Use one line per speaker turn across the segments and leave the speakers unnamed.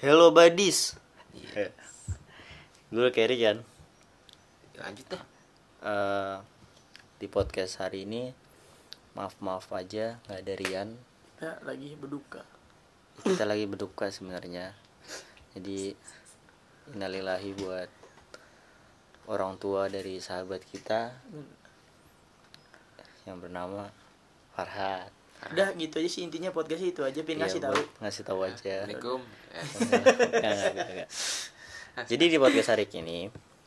Hello buddies. Gue Kerry kan.
Lanjut dah.
Eh, di podcast hari ini maaf maaf aja nggak ada Rian.
Ya, lagi berduka.
Kita lagi berduka sebenarnya. Jadi innalillahi buat orang tua dari sahabat kita yang bernama Farhad.
Udah gitu aja sih intinya podcast itu aja pin ngasih
Iya,
tahu. Ah,
buat Ngasih tahu aja.
Assalamualaikum. Eh,
Enggak, enggak, enggak, enggak. Jadi di podcast hari ini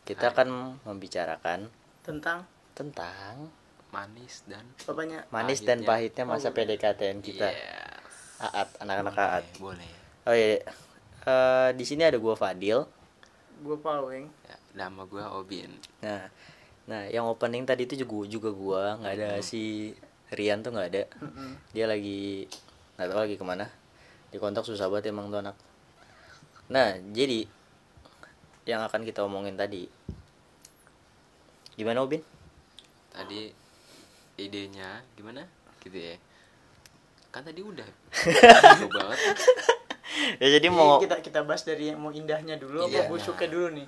kita akan membicarakan
tentang
tentang
manis dan
bapaknya
manis
Pahitnya.
dan pahitnya Oh, masa PDKT kita
Yes.
aat anak-anak
Boleh,
aat
Boleh.
oh iya Eh, di sini ada gua Fadil
gue Paweng.
Ya, nama gue Obin.
nah nah yang opening tadi itu juga juga gua nggak ada si Rian tuh nggak ada
Mm-mm.
dia lagi nggak tahu lagi kemana di kontak susah banget emang tuh anak nah jadi yang akan kita omongin tadi gimana Obin
Tadi idenya gimana? Gitu ya. Kan tadi udah. Gue banget.
ya jadi
Jadi
mau
kita kita bahas dari yang mau indahnya dulu
Iya.
apa busuknya dulu nih.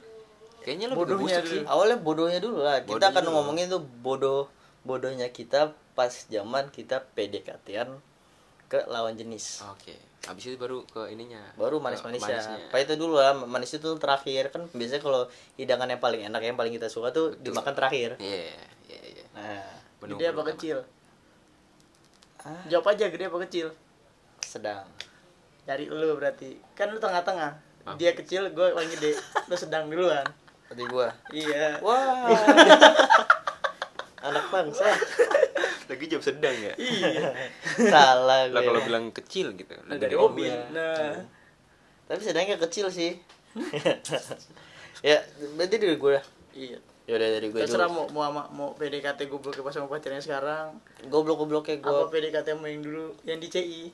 Kayaknya lebih ke
Bodohnya
busuk sih.
dulu.
awalnya bodohnya dulu lah kita
Bodohnya
akan
dulu.
ngomongin tuh bodoh bodohnya kita pas zaman kita PDKT-an ke lawan jenis
Oke. Abis itu baru ke ininya.
baru
Ke
manis-manisnya apa itu dulu lah manis itu terakhir kan biasanya kalau hidangan yang paling enak yang paling kita suka tuh dimakan terakhir
Iya, iya, iya.
nah
Penuh-
gede apa
penuh-
kecil?
Ah.
Jawab aja gede apa kecil?
sedang
Dari lu berarti. Kan lu tengah-tengah. Dia kecil, gue paling gede. lu sedang duluan.
tadi gua
Iya.
wah anak bangsa
Lagi jam sedang ya.
salah
Lah kalau
gue
bilang kecil gitu. Lah dari
dari Obin.
gua.
Nah,
tapi sedangnya kecil sih ya berarti dari gua dah
iya.
yaudah dari gua
Terserah
dulu
mau mau ama- mau PDKT gue ke pas sama pacarnya sekarang.
goblok-gobloknya gua
Apa PDKT mau yang dulu yang di CI?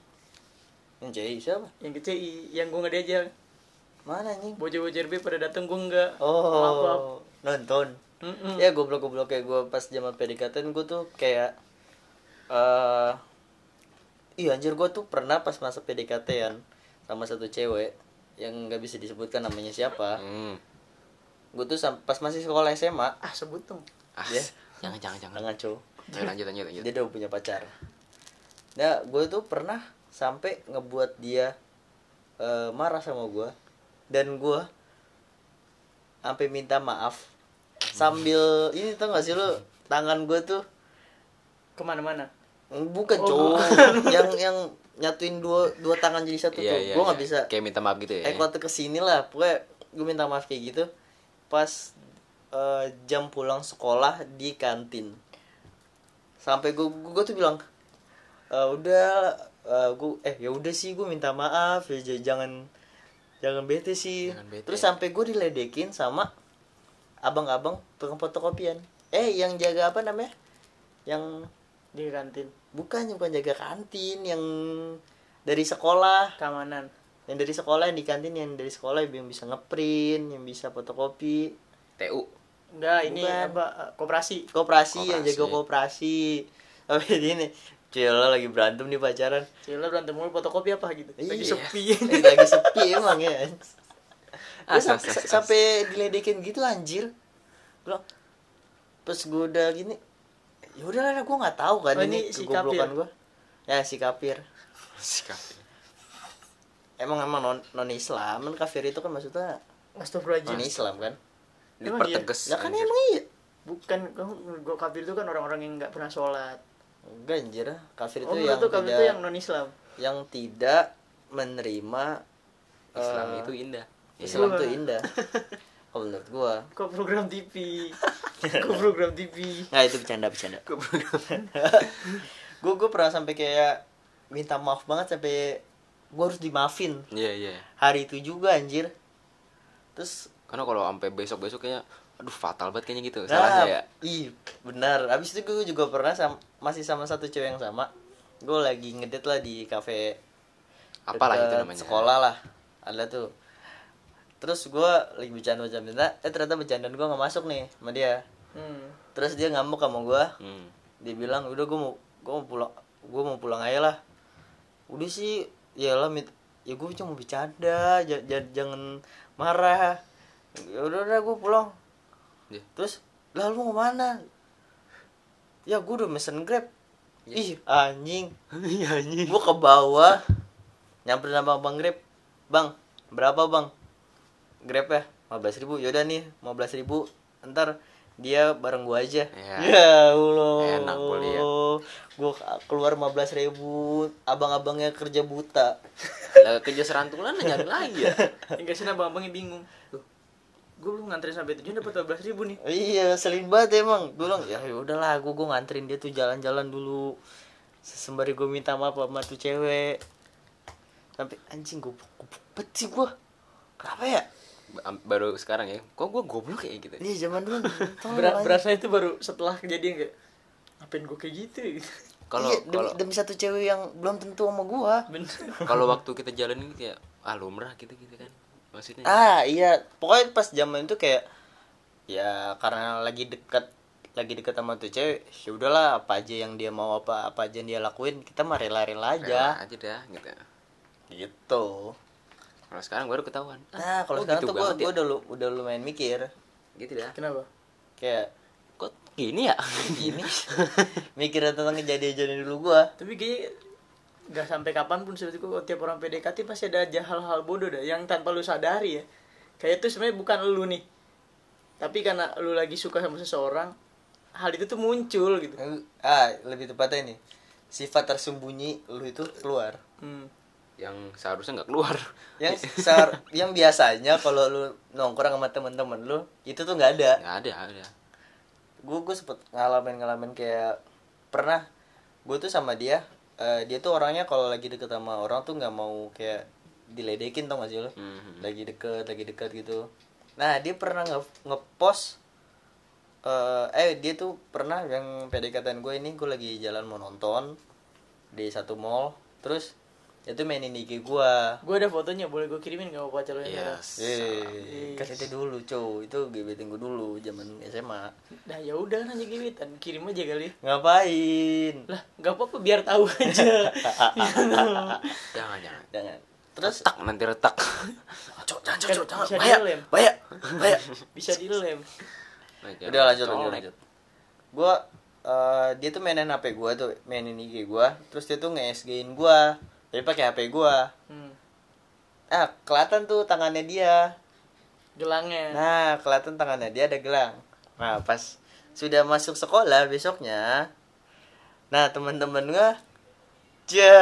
Anjay, siapa?
yang ke CI yang gue nggak diajak
Mana anjing?
bocah-bocah RB pada dateng gue nggak Maaf, maaf.
Oh, nonton.
Mm-mm.
Ya goblok-goblok kayak gue pas zaman PDKT gue tuh kayak eh iya anjir gue tuh pernah pas masa PDKT-an sama satu cewek yang nggak bisa disebutkan namanya siapa.
Hmm.
Gue tuh sam- pas masih sekolah SMA,
ah sebut dong
Ah,
Ya.
jangan jangan jangan.
jangan cow,
Ayo lanjut lanjut lanjut.
dia udah punya pacar. Nah, gue tuh pernah sampai ngebuat dia eh, marah sama gue dan gue sampai minta maaf sambil ini tau gak sih lo tangan gue tuh
kemana-mana
bukan cowok
Oh,
yang yang nyatuin dua dua tangan jadi satu
Iya,
tuh
iya,
gue nggak
iya.
bisa
Kayak minta maaf gitu ya.
eh waktu kesini lah pokoknya gue minta maaf kayak gitu pas eh, jam pulang sekolah di kantin sampai gue gue tuh bilang "Eh, udah eh, gue eh ya udah sih gue minta maaf ya j- jangan jangan bete sih
Jangan bete.
terus sampai gue diledekin sama abang-abang tukang fotokopian eh yang jaga apa namanya yang
di kantin
bukan bukan jaga kantin yang dari sekolah
keamanan
yang dari sekolah yang di kantin yang dari sekolah yang bisa ngeprint yang bisa fotokopi
TU.
enggak ini
Bukan.
apa eh, koperasi
koperasi, yang
Koperasi.
jago koperasi tapi ini Cila lagi berantem nih pacaran
Cila berantem mulu fotokopi apa gitu lagi
Iya.
sepi
Eh, lagi sepi emang ya Gua
As,
sam- sa-
as, as, as.
Iya, sampai diledekin gitu anjir Gua bilang pas gue udah gini ya udah lah gue nggak tahu kan
Oh,
ini,
ini si
kegoblokan
Kapir.
gue ya si kapir
Sikap.
emang emang non non Islam kan kafir itu kan maksudnya non
Astagfirullahaladzim
Islam kan
Emang
Dipertegas.
ya kan
anjir.
emang iya
bukan kamu gue kafir itu kan orang-orang yang nggak pernah sholat
Enggak anjir Kafir itu
oh
yang
menurut tuh kafir
tidak
itu
yang...
yang non Islam
tidak menerima
Islam
eh,
itu indah. Iya.
Islam
Iya.
itu indah Kalau menurut gua
kok program TV kok program TV
Nah itu bercanda bercanda Gue gue pernah sampai kayak Minta maaf banget sampai Gue harus dimaafin
Iya iya.
Hari itu juga anjir Terus
Karena kalau sampai besok besok kayaknya, aduh fatal banget kayaknya gitu.
Nah,
Salah ya.
Ih, benar. Abis itu gue juga pernah sam- masih sama satu cewek yang sama. Gue lagi ngedit lah di kafe.
Apalah itu
dekat
namanya.
Sekolah lah. Ada tuh. Terus gue lagi bercanda bercanda, eh ternyata bercandaan gue nggak masuk nih sama dia.
hmm.
Terus dia ngamuk sama gue.
Hmm.
Dia bilang, udah gue mau gue mau pulang, gue mau pulang aja lah. Udah sih, ya lah mit- ya gue cuma bercanda ja- ja- jangan marah ya udah udah gue pulang
Iya.
terus lalu mau mana ya gue udah mesen grab
Iya.
ih anjing
Iya anjing.
gue ke bawah nyamperin sama bang grab bang berapa bang grab ya 15.000 ribu yaudah nih 15.000 ribu ntar dia bareng gue aja
Ya.
ya Allah
Enak gua liat.
gue keluar 15.000 ribu abang-abangnya kerja buta
Lah kerja serantulan nyari lagi ya.
Enggak sih abang-abangnya bingung. Loh, gue belum ngantri sampai tujuan dapat 12 ribu nih.
iya selin banget emang gue bilang ya udahlah gue gue nganterin dia tuh jalan-jalan dulu sembari gue minta maaf sama tuh cewek tapi anjing gue bet sih gue kenapa ya
Ba- Baru sekarang ya. Kok gua goblok kayak gitu.
Iya zaman dulu. tolol
Bera-
aja.
berasa itu baru setelah kejadian kayak ngapain gue kayak gitu ya?"
Kalau
Iya, demi,
kalau
demi satu cewek yang belum tentu sama gua.
bener
kalau waktu kita jalan gitu ya ah lumrah gitu gitu kan. Maksudnya
Ah iya, pokoknya pas zaman itu kayak ya karena lagi dekat lagi dekat sama tuh cewek, ya udahlah apa aja yang dia mau apa apa aja yang dia lakuin kita mah rela-rela
rela
aja
aja dah gitu.
gitu.
Kalau sekarang baru ketahuan.
Nah kalau
oh,
sekarang
gitu
tuh gua,
banget ya?
gua udah lu- udah lumayan mikir
gitu dah.
kenapa
kayak
Kok gini ya?
gini mikirin tentang kejadian-kejadian dulu gua.
tapi kayaknya nggak sampai kapanpun sebetulnya kok tiap orang PDKT pasti ada aja hal-hal bodoh dah yang tanpa lu sadari ya kayak itu sebenarnya bukan lu nih tapi karena lu lagi suka sama seseorang hal itu tuh muncul gitu
Ah lebih tepatnya ini sifat tersembunyi lu itu keluar.
hmm.
Yang seharusnya nggak keluar.
yang sehar- yang biasanya kalau lu nongkrong sama temen-temen lu itu tuh nggak ada
Nggak ada, nggak ada.
gue gue sempet ngalamin ngalamin kayak pernah gue tuh sama dia eh, dia tuh orangnya kalau lagi deket sama orang tuh nggak mau kayak diledekin tau gak sih lo
Mhm.
lagi deket lagi deket gitu nah dia pernah nge ngepost eh, eh dia tuh pernah yang PDKT gue ini gue lagi jalan mau nonton di satu mall terus dia tuh mainin IG gue
gue ada fotonya boleh gue kirimin gak apa-apa calon yang
Yes.
Eh, kan itu dulu cow itu gebetin gue dulu zaman SMA
dah ya udah nanya gebetan kirim aja kali
ngapain
lah nggak apa-apa biar tahu aja
Jangan, jangan.
jangan terus
Retak nanti retak.
cok jangan cok cok jangan
Bisa
bahaya
dilem.
bahaya bahaya
bisa dilem
Ya udah lanjut lanjut lanjut gue dia tuh mainin HP gue tuh mainin IG gue terus dia tuh nge-SG-in gue tapi pakai HP gue
hmm.
ah kelihatan tuh tangannya dia
gelangnya
Nah, kelihatan tangannya dia ada gelang. Nah, pas sudah masuk sekolah besoknya, nah teman-teman gua, ja,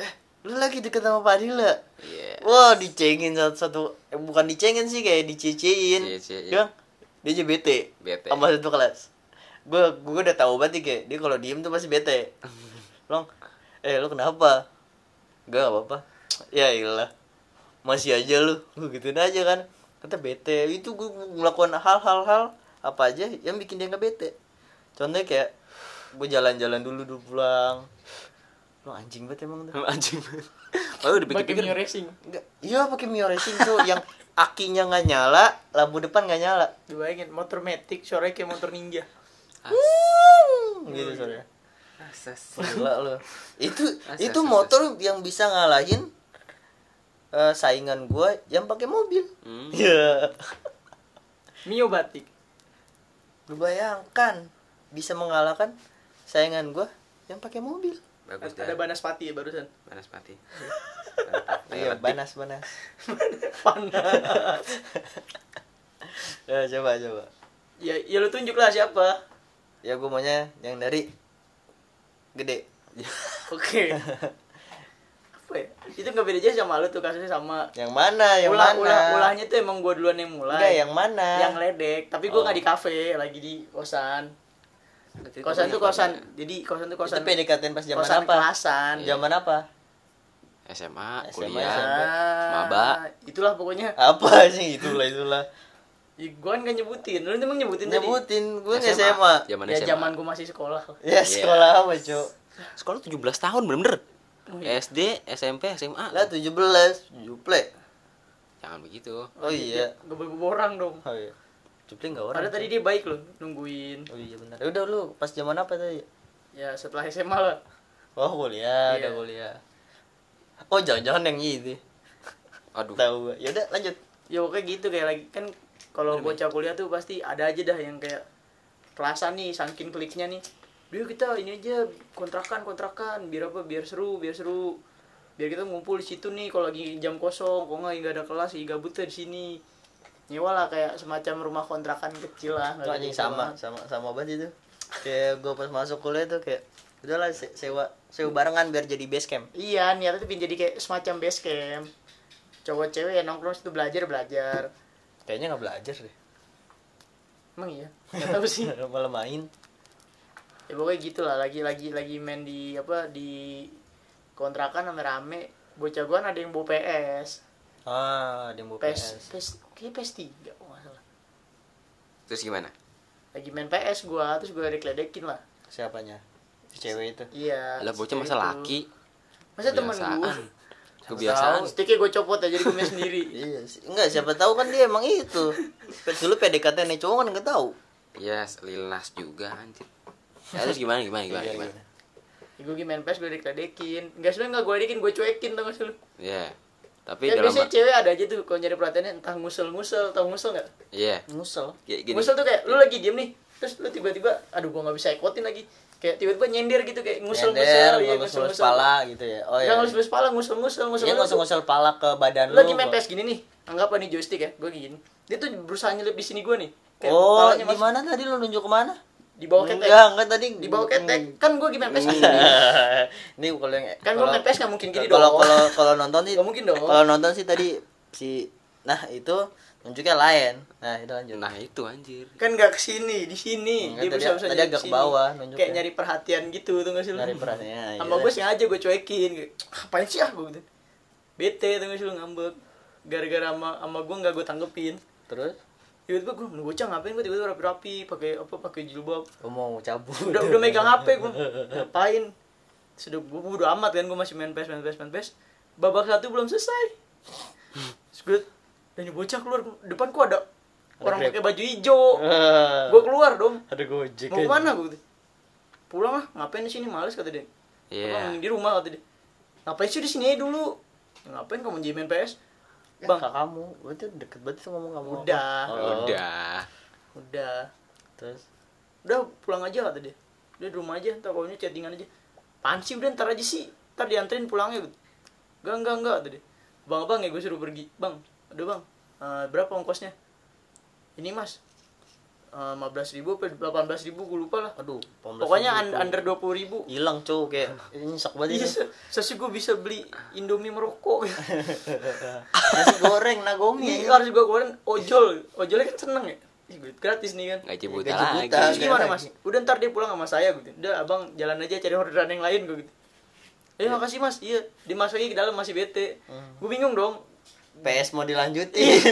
eh, lu lagi deket sama Pak Adila.
Iya.
Wah, dicengin satu-satu. Eh, bukan dicengin sih, kayak dicecein.
Iya, iya, iya.
Dia bilang, dia aja bete.
Bete.
Sama satu kelas. Gue gue udah tahu banget nih, kayak dia kalau diem tuh pasti bete. Long, eh lu kenapa? Gak apa-apa. Ya iyalah. Masih aja lu. Gue gituin aja kan. Kata bete. Itu gue melakukan hal-hal-hal apa aja yang bikin dia nggak bete. Contohnya kayak gue jalan-jalan dulu dulu pulang. Lo anjing banget emang tuh.
Anjing. Oh, udah
pakai
pikir-pikir.
Mio Racing
Enggak, iya pakai Mio Racing tuh yang akinya nggak nyala, lampu depan nggak nyala.
Lu bayangin motor matic suaranya kayak motor ninja
gitu suaranya.
Asas.
Gila lo. Itu
Asas,
itu
asas.
motor yang bisa ngalahin eh, saingan gua yang pakai mobil.
Hmm.
Ya.
Mio batik
Lu bayangkan bisa mengalahkan saingan gua yang pakai mobil.
Bagus
kan?
ada
dah.
banaspati ya barusan
Banaspati.
Iya, banas-banas. Ya, coba coba.
ya ya lu tunjuk lah siapa
Ya gua maunya yang dari gede.
oke apa ya itu nggak beda aja sama lu tuh kasusnya sama
Yang mana? Yang
ulah
mana?
ulah ulahnya tuh emang gua duluan yang mulai
Enggak, yang mana?
yang ledek tapi gua
Oh.
nggak di kafe lagi di kosan kosan tuh kosan jadi kosan tuh
itu
kosan
PDKT pas zaman
kosan
apa?
kelasan
Zaman apa?
SMA,
SMA,
kuliah.
SMA.
Ah,
Maba.
itulah pokoknya
Apa sih itulah itulah.
ya, gua kan nggak nyebutin lu emang nyebutin tadi?
Nyebutin gue SMA. SMA.
Zaman
ya
SMA.
zaman gua masih sekolah
Ya sekolah apa, Cuk?
Sekolah 17 tahun bener-bener.
Oh, iya.
SD, SMP, SMA.
Lah 17, Juple.
Jangan begitu.
Oh iya.
gak boleh gua orang dong
Oh iya. Juple enggak orang.
Padahal tadi dia baik loh nungguin
Oh iya benar. Ya Udah lu pas zaman apa tadi?
ya setelah SMA lah
Oh kuliah, udah
Iya.
kuliah. oh jangan-jangan yang itu
Aduh.
tahu gua ya udah lanjut
ya pokoknya gitu kayak lagi kan kalau
Bener,
bocah kuliah tuh pasti ada aja dah yang kayak kerasa nih saking kliknya nih Duh kita ini aja kontrakan kontrakan biar apa biar seru biar seru biar kita ngumpul di situ nih kalau lagi jam kosong kalau nggak nggak ada kelas lagi gabut tuh di sini nyewa lah kayak semacam rumah kontrakan kecil lah nggak
Itu anjing
gede
sama
banget.
sama sama banget itu kayak gue pas masuk kuliah tuh kayak udahlah se- sewa sewa barengan biar jadi base camp
iya niatnya tuh pin jadi kayak semacam base camp cowok cewek yang nongkrong situ belajar belajar
kayaknya nggak belajar deh
emang iya nggak tahu sih
malah main
ya pokoknya gitulah lagi lagi lagi main di apa di kontrakan rame rame bocah gua kan ada yang bawa PS
ah ada yang bawa
PS
PS
PS kayak PS tiga kalau nggak salah
Terus gimana?
lagi main PS gua terus gua dikledekin lah
siapanya si cewek itu
iya
Lah bocah
seperti
masa
itu.
laki.
masa temen gua
Kebiasaan. Kebiasaan.
Tahu, sticknya gua copot aja jadi gua main sendiri
iya sih enggak siapa tahu kan dia emang itu dulu PDKT nih cowok kan nggak tahu
Iya, Lil Nas juga anjir. Ya, terus gimana gimana gimana
Iya,
gimana?
iya.
ya, gua lagi main PS gua dikledekin nggak sebenarnya nggak gua dekin gua cuekin tau nggak sih lu
Iya. Tapi
ya,
dalam
biasanya cewek ada aja tuh kalau nyari perhatiannya entah ngusel ngusel tau ngusel nggak
Iya.
ngusel
Kayak gini.
Ngusel tuh kayak lu lagi diem nih, terus lu tiba-tiba aduh gua nggak bisa ikutin lagi. Kayak tiba-tiba nyender gitu kayak ngusel-ngusel,
Nyender, ngelus-ngelus pala gitu ya oh
Enggak
iya
ngusel-ngusel pala, ngusel-ngusel, ngusel.
Iya, ngusel-ngusel pala ke badan
Lu lagi main
Bang.
PS gini nih. Anggaplah nih joystick ya, gua gini. Dia tuh berusaha nyelip di sini gua nih. Kayak
oh
palanya
di
masuk
mana tadi lu nunjuk kemana
di bawah ketek.
enggak enggak tadi
Di bawah ketek. Kan gua lagi main PS gini.
ini kalau yang
Kan gua
kalau-
main PS nggak mungkin gini
kalau
dong.
kalau kalau nonton sih
Nggak mungkin dong.
kalau nonton sih tadi si nah itu nunjuknya lain nah itu lanjut
Nah, itu anjir.
Kan gak kesini, di sini.
Enggak,
Dia
Hmm, kan tadi- tadi
berusaha nyelip
agak
di
ke
sini.
bawah nunjuknya. ya,
Kayak nyari perhatian gitu tuh nggak sih lu?
dari perannya
sama gue sengaja gue cuekin Kayak, ngapain sih ah gue gitu bete tuh sih lu ngambek gara-gara sama sama gue nggak gue tanggepin
terus
tiba-tiba gue "Lu bocah ngapain gue tiba-tiba rapi-rapi pakai apa pakai jilbab
gua mau cabut
udah udah megang hp gue ngapain sudah gue bodo amat kan gue masih main pes main pes main pes babak satu belum selesai Terus gue dan bocah keluar depan kok ada orang
Grab.
pakai baju hijau
Ah,
gue keluar dong
ada gojek
mau kemana gue gitu. pulang lah ngapain di sini males kata dia
Iya.
Abang, di rumah kata dia. Ngapain sih di sini aja dulu? Ya, Ngapain kamu jadi main PS?
bang
Bang,
kamu berarti deket banget sama ngomong kamu
Udah.
Oh.
Udah.
udah.
terus
Udah pulang aja kata dia. Udah di rumah aja, ntar kalau ini chattingan aja. Apaan sih udah ntar aja sih. Ntar dianterin pulangnya gitu. Enggak, enggak, enggak kata dia. Bang, bang ya gue suruh pergi. Bang, aduh bang. eh, berapa ongkosnya? Ini mas. Eh, lima belas ribu apa delapan belas ribu gue lupa lah
aduh 18
pokoknya
ribu.
un- under dua puluh ribu
hilang cowok kayak ini nyesek banget
iya
itu
se- seharusnya gue bisa beli indomie merokok
Iya. nasi goreng nagomi
Iya, harus gue keluarin ojol. Ojolnya kan seneng ya. Ih, duit gratis nih kan.
Gaji buta
Gaji
lagi.
buta.
Terus gimana mas? Udah ntar dia pulang sama saya gitu. Udah abang jalan aja cari orderan yang lain gue gitu. Eh makasih mas, iya Hmm. dimasukin ke dalam masih bete. Gue bingung dong.
PS mau
Iya.
dilanjutin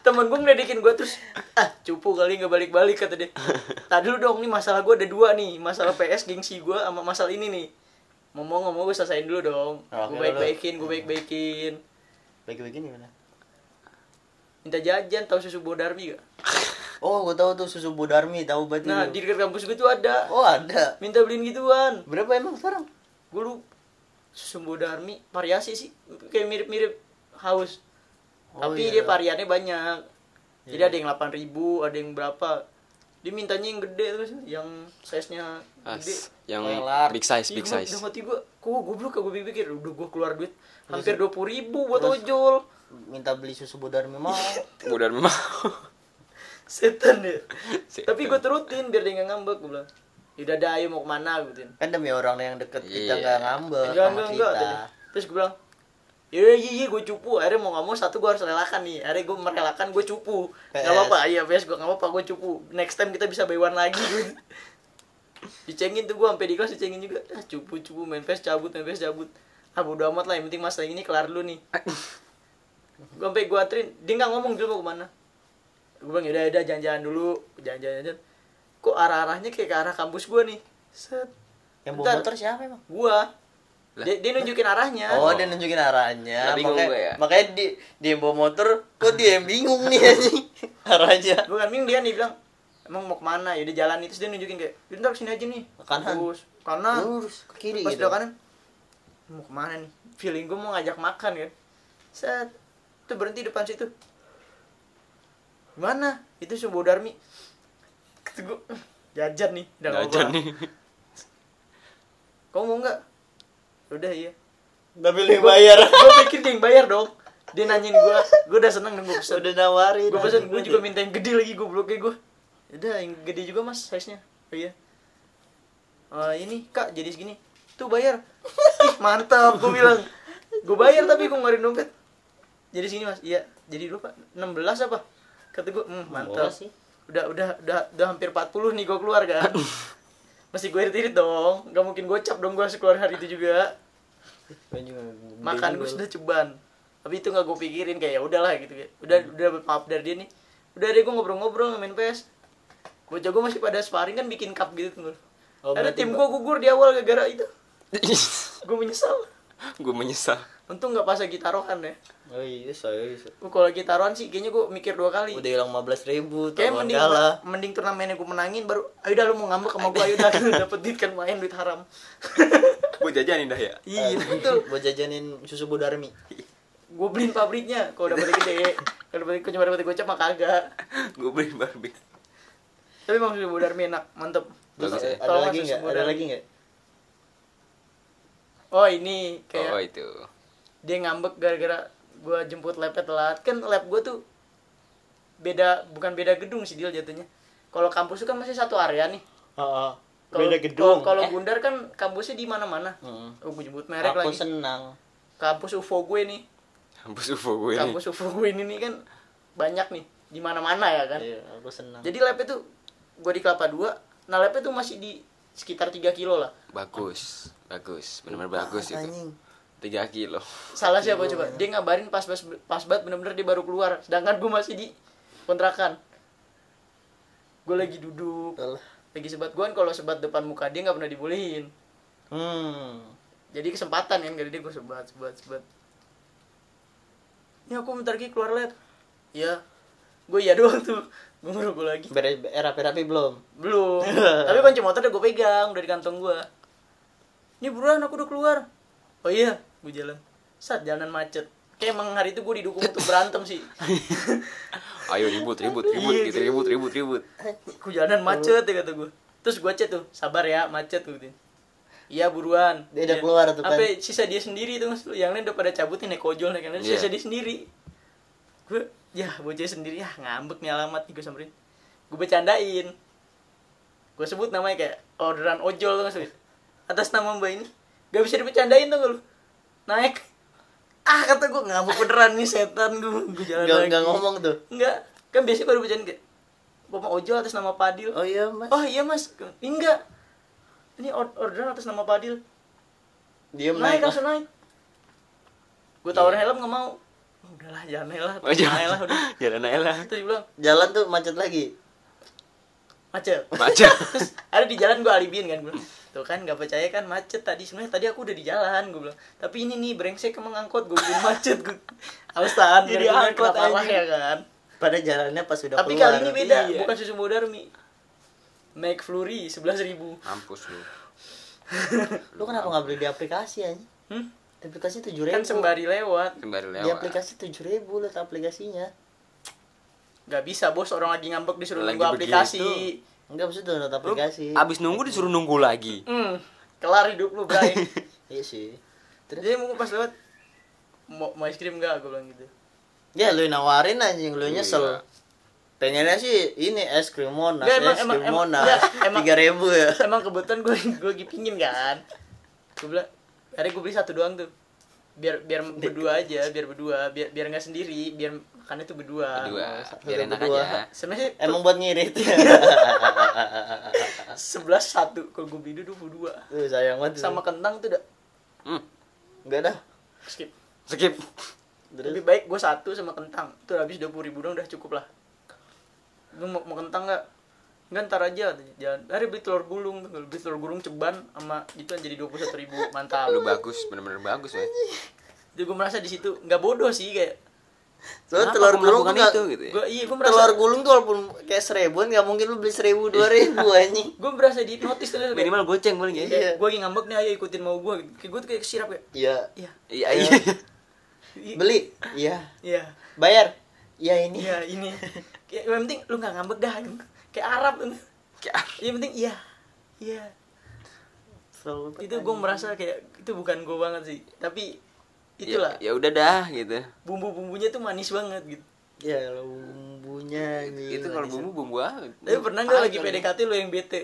Temen gue ngeledekin gue terus ah cupu kali nggak balik-balik kata dia. Tak dulu dong nih masalah gue ada dua nih masalah PS gengsi gue sama masalah ini nih. Ngomong-ngomong gue selesain dulu dong.
Oke,
Gue baik-baikin, gue baik-baikin.
bagi-bagi nih mana
Minta jajan tahu susu bodarmi gak?
oh gua tahu tuh susu budarmi tahu
Iya.
banget
Nah
itu.
di dekat kampus gue tuh ada.
oh ada
minta beliin gituan
berapa emang sekarang
gue lu sumbu darmi variasi sih kayak mirip-mirip haus
Oh,
tapi
iya.
dia variannya banyak
Iya.
jadi ada yang 8000 ada yang berapa dia mintanya yang gede terus yang size nya gede
As, yang
Kelar.
big size, big
Ih, gua-
size.
udah mati gue kok goblok gue pikir udah gue keluar duit
Iya
hampir dua puluh ribu buat ojol
minta beli susu budarmi mau
Udah mau.
setan ya
Setan.
tapi gue turutin biar dia nggak ngambek gue bilang yaudah dah ayo mau kemana gue gituin
kan demi orang yang deket kita
Iya.
nggak ngambek
enggak
sama
enggak enggak
kita
tadi. terus gue bilang iya iya iya gue cupu akhirnya mau nggak mau satu gue harus relakan nih akhirnya gue merelakan gue cupu
PS.
nggak apa apa iya PS gue nggak apa apa gue cupu next time kita bisa bayuan lagi dicengin tuh gue sampai di kelas dicengin juga ah cupu cupu main PS cabut main PS cabut ah bodo amat lah yang penting masalah ini kelar dulu nih gue sampai gue anterin dia nggak ngomong dulu mau kemana gue bilang "Ya yaudah yaudah jalan-jalan dulu jalan-jalan jalan. kok arah-arahnya kayak ke arah kampus gue nih set
yang bawa
Bentar.
motor siapa emang
gua
Lah.
dia, dia nunjukin arahnya
Oh, dia nunjukin arahnya.
Lah, bingung
makanya,
gue ya.
makanya di dia yang bawa motor, kok dia yang bingung nih anjing arahnya.
bukan kan bingung dia nih bilang emang mau kemana ya dia jalan itu dia nunjukin kayak "Yuk, ntar kesini aja nih
Ke kanan.
terus kanan
Lurus ke kiri
pas
gitu.
udah kanan mau kemana nih feeling gue mau ngajak makan kan set tuh berhenti depan situ mana itu Subodarmi kata gue jajan nih udah nggak
Jajan
apa-apa.
nih.
kamu mau nggak udah iya
Udah pilih bayar.
gue pikir dia yang bayar dong dia nanyain gue gue udah seneng nunggu pesen
Udah nawarin.
gue pesen gue juga minta yang gede lagi gue bloknya gue udah yang gede juga mas size nya oh iya Eh, ini kak jadi segini tuh bayar Ih, mantap gue bilang gue bayar tapi gue ngeluarin dompet jadi segini mas iya jadi berapa 16 apa kata gue hmm, mantap
16 sih.
udah udah udah udah hampir 40 nih gue keluar kan masih gue irit-irit dong gak mungkin gocap dong gue harus keluar hari itu juga makan gue sudah ceban tapi itu nggak gue pikirin kayak ya udahlah gitu ya udah udah maaf dari dia nih udah deh gue ngobrol-ngobrol main PS bocah gue masih pada sparring kan bikin cup gitu tuh
Oh,
ada
berarti
tim
ba-
gue gugur di awal gara-gara itu gue menyesal
gue menyesal.
untung nggak pas lagi taruhan ya
Oh iya, saya bisa.
gue kalau lagi taruhan sih kayaknya gue mikir dua kali
Udah hilang 15 ribu,
kayak
taruhan
mending
kalah.
mending turnamennya gue menangin baru ayo udah lu mau ngambek sama gue ayo udah lu dapet duit kan main duit haram
Gue jajanin dah ya.
iya betul
Buat jajanin susu Bodarmi.
gue beliin pabriknya kalau dapetnya gede kalau dapetnya cuma dapetnya gocap mah kagak
Gue beli Barbie.
Tapi Bang Susu Bodarmi enak, mantep.
Terus eh,
Bagus ya.
ada
Tolong
lagi
Susu
nggak? Ada
Bodarmi.
lagi nggak?
Oh ini kayak
Oh itu.
dia ngambek gara-gara gua jemput labnya telat. Kan lab gua tuh beda bukan beda gedung sih dia jatuhnya. Kalau kampus itu kan masih satu area nih.
Heeh.
Kalau-
Ah, Beda gedung.
kalau- Kalau
Eh,
Gundar kan kampusnya di mana-mana.
Mm.
Oh, gue jemput merek
aku
lagi.
senang.
Kampus UFO gue nih.
Kampus UFO gue ini.
Kampus UFO gue ini nih kan banyak nih di mana-mana ya kan.
Iya, aku senang.
Jadi lab itu gua di Kelapa 2, nah labnya tuh masih di sekitar 3 kilo lah.
Bagus. Bagus. Benar-benar bagus itu.
Anjing.
Tiga kilo.
salah siapa coba dia ngabarin pas pas pas banget bener-bener dia baru keluar sedangkan gue masih di kontrakan gue lagi duduk
Alah.
lagi sebat gue kalau sebat depan muka dia nggak pernah dibolehin
Hmm.
jadi kesempatan kan gak dia gue sebat sebat sebat ya aku bentar lagi keluar lab ya gue iya doang tuh gue gue lagi
Beres be- rapi-rapi belum?
belum tapi kunci motor udah gue pegang udah di kantong gue ini buruan aku udah keluar oh iya gue jalan saat jalanan macet kayak emang hari itu gue didukung untuk berantem sih
Ayo ribut, ribut, ribut,
Iya,
gitu, ribut, ribut, ribut.
gue jalanan macet ya kata gue terus gue chat tuh sabar ya macet gue gituin. iya buruan
Dia udah keluar tuh kan.
Sampai sisa dia sendiri tuh Mas. yang lain udah pada cabutin naik ojol naik lain sisa
Iya.
dia sendiri gue ya bocah sendiri ah ngambek nih alamat gue samperin gue bercandain gue sebut namanya kayak orderan ojol tuh Mas. atas nama mbak ini gak bisa dibercandain tuh lu naik ah kata gue ngambek beneran nih setan gue gue jalan
Gak,
lagi
gak ngomong tuh.
enggak kan biasanya kalau bercanda kayak bapak ojol atas nama Padil
Oh iya, Mas.
Oh iya mas, enggak. Ini or- orderan atas nama Padil.
Diam Iya, naik.
naik
Oh, Iya.
langsung naik. Gue tawarin helm nggak mau. Oh, udahlah jangan naik lah,
Oh,
jangan naik lah udah.
jangan, jangan naik lah.
Terus dia bilang
Jalan tuh macet lagi.
macet.
Macet.
Terus ada di jalan gue alibiin kan gue. Tuh kan nggak percaya kan macet tadi sebenarnya tadi aku udah di jalan gue bilang. Tapi ini nih brengsek emang angkot gue bikin macet gue. Awas tahan
Jadi
bener-bener
angkot,
kenapa lah
anjing.
ya kan.
Pada jalannya pas sudah
Tapi
keluar.
kali ini beda,
Iya.
bukan susu modarmi. McFlurry sebelas ribu.
Mampus lu.
Lu kenapa nggak beli di aplikasi aja?
Hmm?
Di aplikasi tujuh ribu.
Kan sembari lewat.
Sembari
Di
lewat.
aplikasi tujuh ribu lihat aplikasinya.
Gak bisa bos orang lagi ngambek disuruh
Lagi
nunggu aplikasi.
begitu.
Enggak maksud download
Lu
aplikasi.
abis nunggu disuruh nunggu lagi.
Hmm, kelar hidup lu Bray.
Iya sih. Terus
Jadi mau pas lewat mau, mau es krim gak gue bilang gitu.
ya lu nawarin anjing lu
Iya.
nyesel. Pengennya sih ini es krim monas,
Nggak, emang-
es
emang-
krim
emang-
monas,
nggak, emang-
tiga ribu ya.
Emang kebetulan gue gue lagi pingin kan. Gue bilang, hari gue beli satu doang tuh. Biar biar berdua aja, biar berdua, biar biar nggak sendiri, biar makannya tuh berdua.
Berdua,
satu
ah, biar enak
berdua.
aja. ah.
Sebenarnya
Emang buat ngirit.
sebelas satu, kalau gue beli dua dua.
Lu sayang banget.
Sama kentang tuh udah
Hmm,
enggak dah.
skip.
skip.
Terus
Lebih baik gue satu sama kentang. Tuh habis dua puluh ribu dong udah cukup lah. Lu mau, mau kentang nggak? Enggak ntar aja katanya. Jangan. Hari beli telur gulung, Tuh, beli telur gulung ceban sama itu jadi dua puluh ribu mantap.
Lu bagus, bener-bener bagus, weh.
Jadi gue merasa di situ nggak bodoh sih kayak
Soalnya
Kenapa
telur
aku
gulung
melakukan
tuh nggak-
itu gitu ya?
Gua iya, gua merasa
telur gulung tuh walaupun kayak seribuan nggak mungkin lu beli seribu dua ribu anjing
gue merasa dihipnotis tuh kayak,
Minimal goceng paling ya.
Iya.
gue lagi ngambek nih ayo ikutin mau gue kayak gue tuh kayak kesirap kayak
iya
iya
Iya iya.
i-
beli iya
iya
bayar iya ini
iya ini kayak yang penting lu nggak ngambek dah gitu." kayak Arab kayak yang penting iya iya
Selalu
itu gue merasa kayak itu bukan gue banget sih tapi itulah
Ya ya udah dah gitu.
bumbu-bumbunya tuh manis banget gitu
ya lo bumbunya ini
Itu kalau bumbu bumbu apa?
tapi pernah nggak lagi
Paling.
PDKT lu yang bete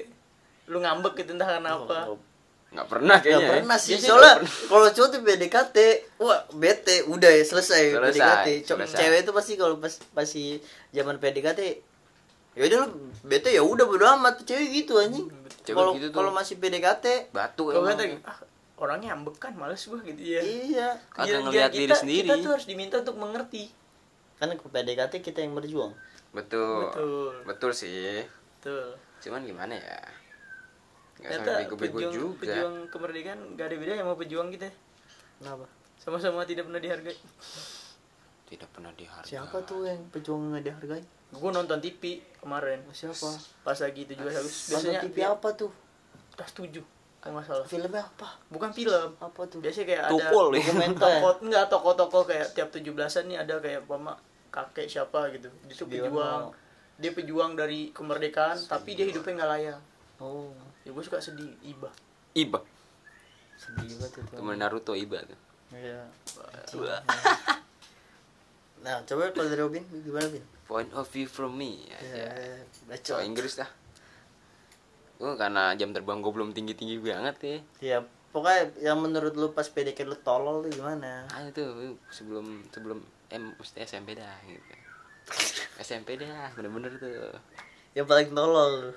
lu ngambek gitu entah karena apa
Nggak pernah
Gak
kayaknya. ya.
pernah sih
Biasanya
soalnya
nggak pernah.
kalau cowok tuh PDKT wah bete udah ya selesai,
Selesai,
PDKT Cowok-
selesai.
cewek itu pasti kalau pas pasti zaman PDKT ya udah lu bete ya udah bodo amat cewek gitu anjing
Cewek
kalau
gitu tuh.
kalau masih PDKT
Batu
Kalau
emang.
kata ah, orang ngambek kan males gue gitu ya
iya
Kagak
Biar- biar
ngelihat diri
kita-
sendiri.
kita tuh harus diminta untuk mengerti
kan ke PDKT kita yang berjuang
Betul.
Betul.
Betul sih.
Tuh.
Cuman gimana ya? Nggak
Ternyata
sampai bego-bego
pejuang,
juga.
pejuang kemerdekaan gak ada bedanya sama pejuang kita.
kenapa
Sama-sama tidak pernah dihargai.
Tidak pernah dihargai.
siapa tuh yang pejuang nggak dihargai
Gue nonton TV kemarin.
siapa
Pas lagi 17 Agustus.
Biasanya
Biasanya
TV apa tuh
Tas 7. Kalau nggak salah.
filmnya apa
Bukan film.
apa tuh
Biasanya kayak ada
Tukul ya.
Dokumenter.
toko enggak toko-toko kayak tiap 17-an nih ada kayak pama kakek siapa gitu. Dia tuh
Sugiono.
pejuang. Dia pejuang dari kemerdekaan, tapi dia hidupnya nggak layak.
oh
Ya gue suka sedih, iba.
Iba.
sedih banget itu
Temen Naruto Iba tuh.
Iya. Nah, coba kalau dari Robin gimana, Bin?
Point of view from me. Ya.
Ya,
Coba
bacot.
Inggris dah. Gue karena jam terbang gue belum tinggi-tinggi banget ya.
Ya, pokoknya yang menurut lu pas PDK lu tolol tuh gimana?
Ah itu sebelum sebelum M mesti SMP dah gitu. SMP dah bener-bener tuh.
Yang paling tolol lu.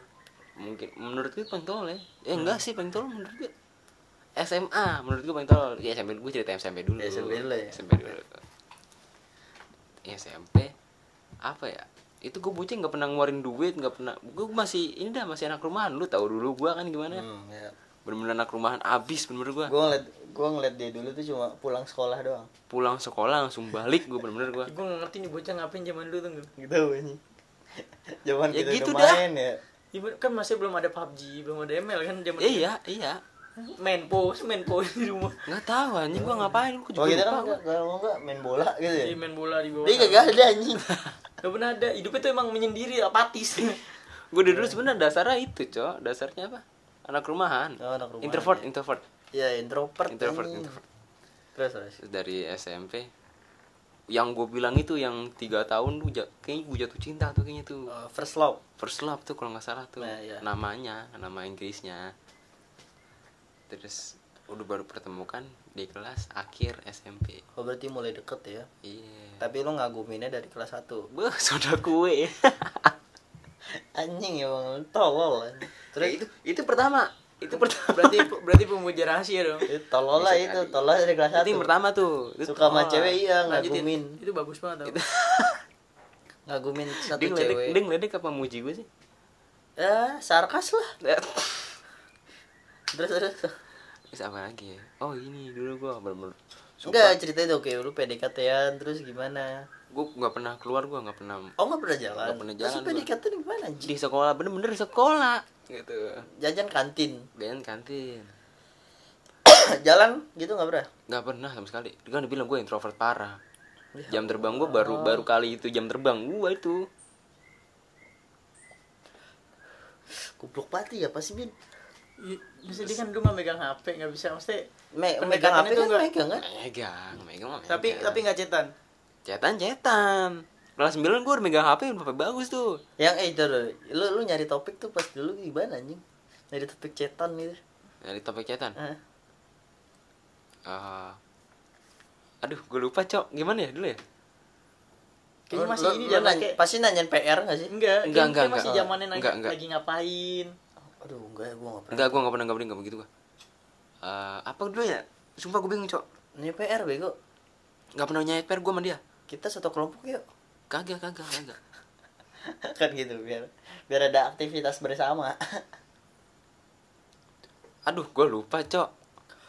Mungkin menurut gue paling tolol ya. Eh
Hmm.
enggak sih paling tolol menurut gue. SMA menurut gue paling tolol. Ya SMP gue cerita SMP dulu.
Ya, SMP dulu ya.
SMP dulu. Ya, SMP apa ya? Itu gue bucin nggak pernah ngeluarin duit, nggak pernah. Gue masih ini dah masih anak rumahan lu tahu dulu gue kan gimana.
Hmm, ya.
Bener-bener anak rumahan abis bener-bener gue.
Gua ngeliat gua ngeliat dia dulu tuh cuma pulang sekolah doang.
Pulang sekolah langsung balik gue bener-bener gue.
Gue nggak ngerti nih bocah ngapain zaman dulu tuh. Gil.
Gitu anjing. Zaman
Ya
kita
gitu
udah
dah.
main ya.
Ya, bener, kan masih belum ada PUBG, belum ada ML kan zaman dulu.
Iya, iya.
main pose main pose di rumah
Nggak tahu anjing gua ngapain gua
Kalau
juga
kita
lupa
kan
gua.
kalau enggak main bola gitu ya.
Iya.
Jadi Iya, main bola di bawah
Dia
sana.
kagak ada anjing.
Nggak pernah ada hidupnya tuh emang menyendiri apatis
Gua dari dulu sebenarnya dasarnya itu, Cok. Dasarnya apa? Anak rumahan.
Oh, anak rumahan,
Introvert,
ya.
introvert.
Ya, introvert.
Introvert,
anjing.
introvert.
Terus, terus.
Terus dari SMP yang gue bilang itu yang tiga tahun tuh ja- kayaknya gue jatuh cinta tuh kayaknya tuh
Eh, first love.
first love tuh kalau nggak salah tuh
Nah, iya.
namanya nama Inggrisnya terus udah baru pertemukan di kelas akhir SMP
Oh, berarti mulai deket ya.
iya
Tapi lu ngaguminnya dari kelas 1.
gue soda kue
anjing emang tolol kan. terus
Ya itu itu pertama itu pertama
berarti berarti pemuja rahasia dong
itu tolol lah
Bisa
itu
jadi.
tolol dari kelas
itu
satu
yang pertama tuh oh. Itu
suka sama
tolol.
cewek iya
Lanjutin.
ngagumin
itu bagus banget tau.
ngagumin satu
dia ngeledek,
cewek
dia ngeledek apa muji gue sih
eh sarkas lah terus terus
Terus apa lagi ya? Oh ini dulu gue bener-bener
enggak ceritain dong kayak lu PDKT-an terus gimana
Gue gak pernah keluar, gue gak pernah
oh nggak pernah jalan
Nggak pernah
terus
jalan gua.
PDKT -an gimana anjing
Di sekolah, bener-bener di sekolah Gitu
jajan kantin
Dan kantin
jalan gitu nggak pernah
Gak pernah sama sekali Dia kan bilang gue introvert parah
Iya.
Jam terbang gue
Oh.
baru baru kali itu jam terbang gue itu
kupluk pati ya pasti bin
Iya, Maksudnya dia kan dulu mah megang HP nggak bisa mesti
Me megang HP
Pendekatannya tuh
kan
nggak-
megang kan
Megang, megang mah megang
tapi tapi nggak cetan
Cetan, cetan Kelas 9 gue udah megang HP, udah bagus tuh
yang eh itu dulu. lu lu nyari topik tuh pas dulu gimana anjing nyari topik cetan gitu
Dari topik cetan
Hah?
Eh, Aduh, gue lupa cok, gimana ya dulu ya?
kayaknya
Lu-
masih
lu-
ini
lu
zaman
nanya-
kayak
pasti nanyain PR gak sih?
enggak
Enggak,
enggak
enggak,
Eh, masih
enggak.
zamannya lagi,
Enggak, enggak.
lagi ngapain
Aduh, enggak, ya, gua enggak pernah.
Enggak, gue gak pernah, gak pernah, gak begitu gue Eh, Apa dulu ya? Sumpah gue bingung cok
Ini PR bego.
Gak pernah nyayat per gue sama dia
Kita satu kelompok yuk.
Kagak, kagak, kagak
kan gitu biar biar ada aktivitas bersama.
Aduh, gue lupa cok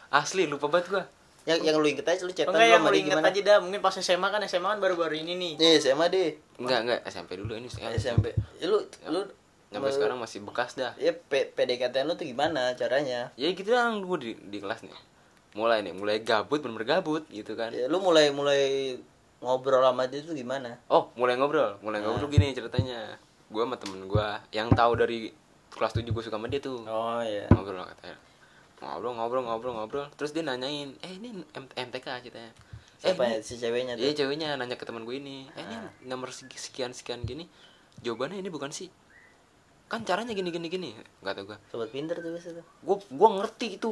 Asli, lupa banget gue
yang yang lu inget aja lu cetan
Enggak yang
sama
lu
dia
inget
gimana?
aja dah, mungkin pas SMA kan SMA kan baru-baru ini nih.
Iya SMA deh
Enggak, enggak, SMP dulu ini sekarang
SMP. Ya, Lu lu
Sampai sekarang masih bekas dah.
ya P- PDKT lu tuh gimana caranya?
Ya gitu lah gue di, di kelas nih. Mulai nih, mulai gabut, bener-bener gabut gitu kan.
Ya, lu mulai mulai ngobrol sama dia tuh gimana?
Oh, mulai ngobrol, mulai
Nah.
ngobrol gini ceritanya. Gue sama temen gue yang tahu dari kelas 7 gue suka sama dia tuh.
Oh iya.
ngobrol katanya ngobrol ngobrol ngobrol ngobrol terus dia nanyain eh ini M- MTK ceritanya eh,
Siapa ya?
ini-
si ceweknya
iya
tuh?
ceweknya nanya ke teman gue ini eh ini nomor segi- sekian sekian gini jawabannya ini bukan sih kan caranya gini gini gini nggak tau gue
Sobat pinter tuh biasa tuh.
gue gue ngerti itu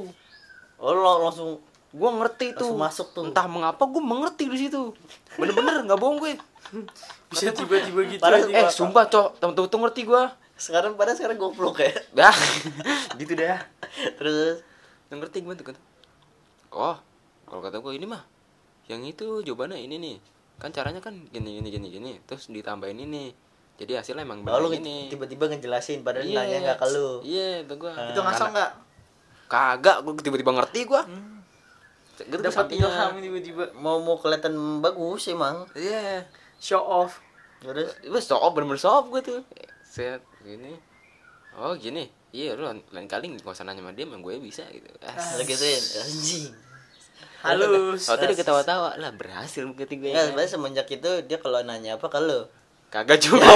Oh lu lang- langsung
gue ngerti itu
Langsung masuk tuh.
entah mengapa gue mengerti di situ bener-bener nggak bohong gue
Bisa tiba-tiba gitu.
Parah,
eh
aja.
sumpah cok temen-temen tuh ngerti gue
sekarang pada sekarang goblok ya.
dah gitu dah
Terus
Yang ngerti gimana tuh kan? Oh, kalau kata gue ini mah yang itu jawabannya ini nih. Kan caranya kan gini gini gini gini terus ditambahin ini. Jadi hasilnya emang
oh, lu
benar
nge-
ini.
tiba-tiba ngejelasin padahal
Iya.
nanya enggak ke lu. Eh,
Iya, itu gua.
Itu ngasal enggak?
Kagak, gua tiba-tiba ngerti gua. Gitu
Dapat
sampingnya.
ilham tiba-tiba.
Mau mau kelihatan bagus emang.
Iya.
Show off.
Terus
Gue sob bener-bener sob gue tuh. Set gini. Oh, gini. Iya, lu lain- lain kali gak usah nanya sama dia, emang gue bisa gitu.
lu gituin ya, anjing.
Halus.
Oh, tadi ketawa-tawa lah berhasil mungkin gue.
Ya, sebenarnya semenjak itu dia kalau nanya apa ke lu.
Kagak juga.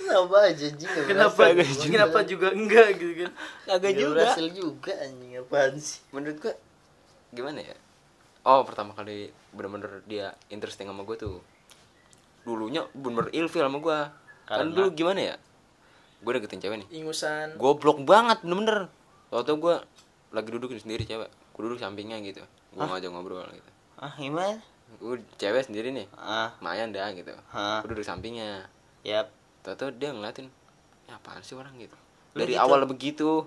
Kenapa aja anjing nggak
Kenapa
berhasil.
kenapa juga enggak gitu kan.
Kagak
Nggak
juga.
berhasil juga anjing apaan sih?
menurut gue gimana ya oh pertama kali bener-bener dia interesting sama gue tuh dulunya bener-bener ilfil sama gue kan
Karena?
dulu gimana ya gue deketin cewek nih
Ingusan.
goblok banget bener-bener waktu gue lagi duduk sendiri cewek gue duduk sampingnya gitu gue ngajak ngobrol gitu
Ah, gimana?
gue cewek sendiri nih
Ah, ya,
lumayan dah gitu
Hah?
gue duduk sampingnya
yap.
tau dia ngeliatin "Ini apaan sih orang gitu
Lu
dari
gitu?
awal begitu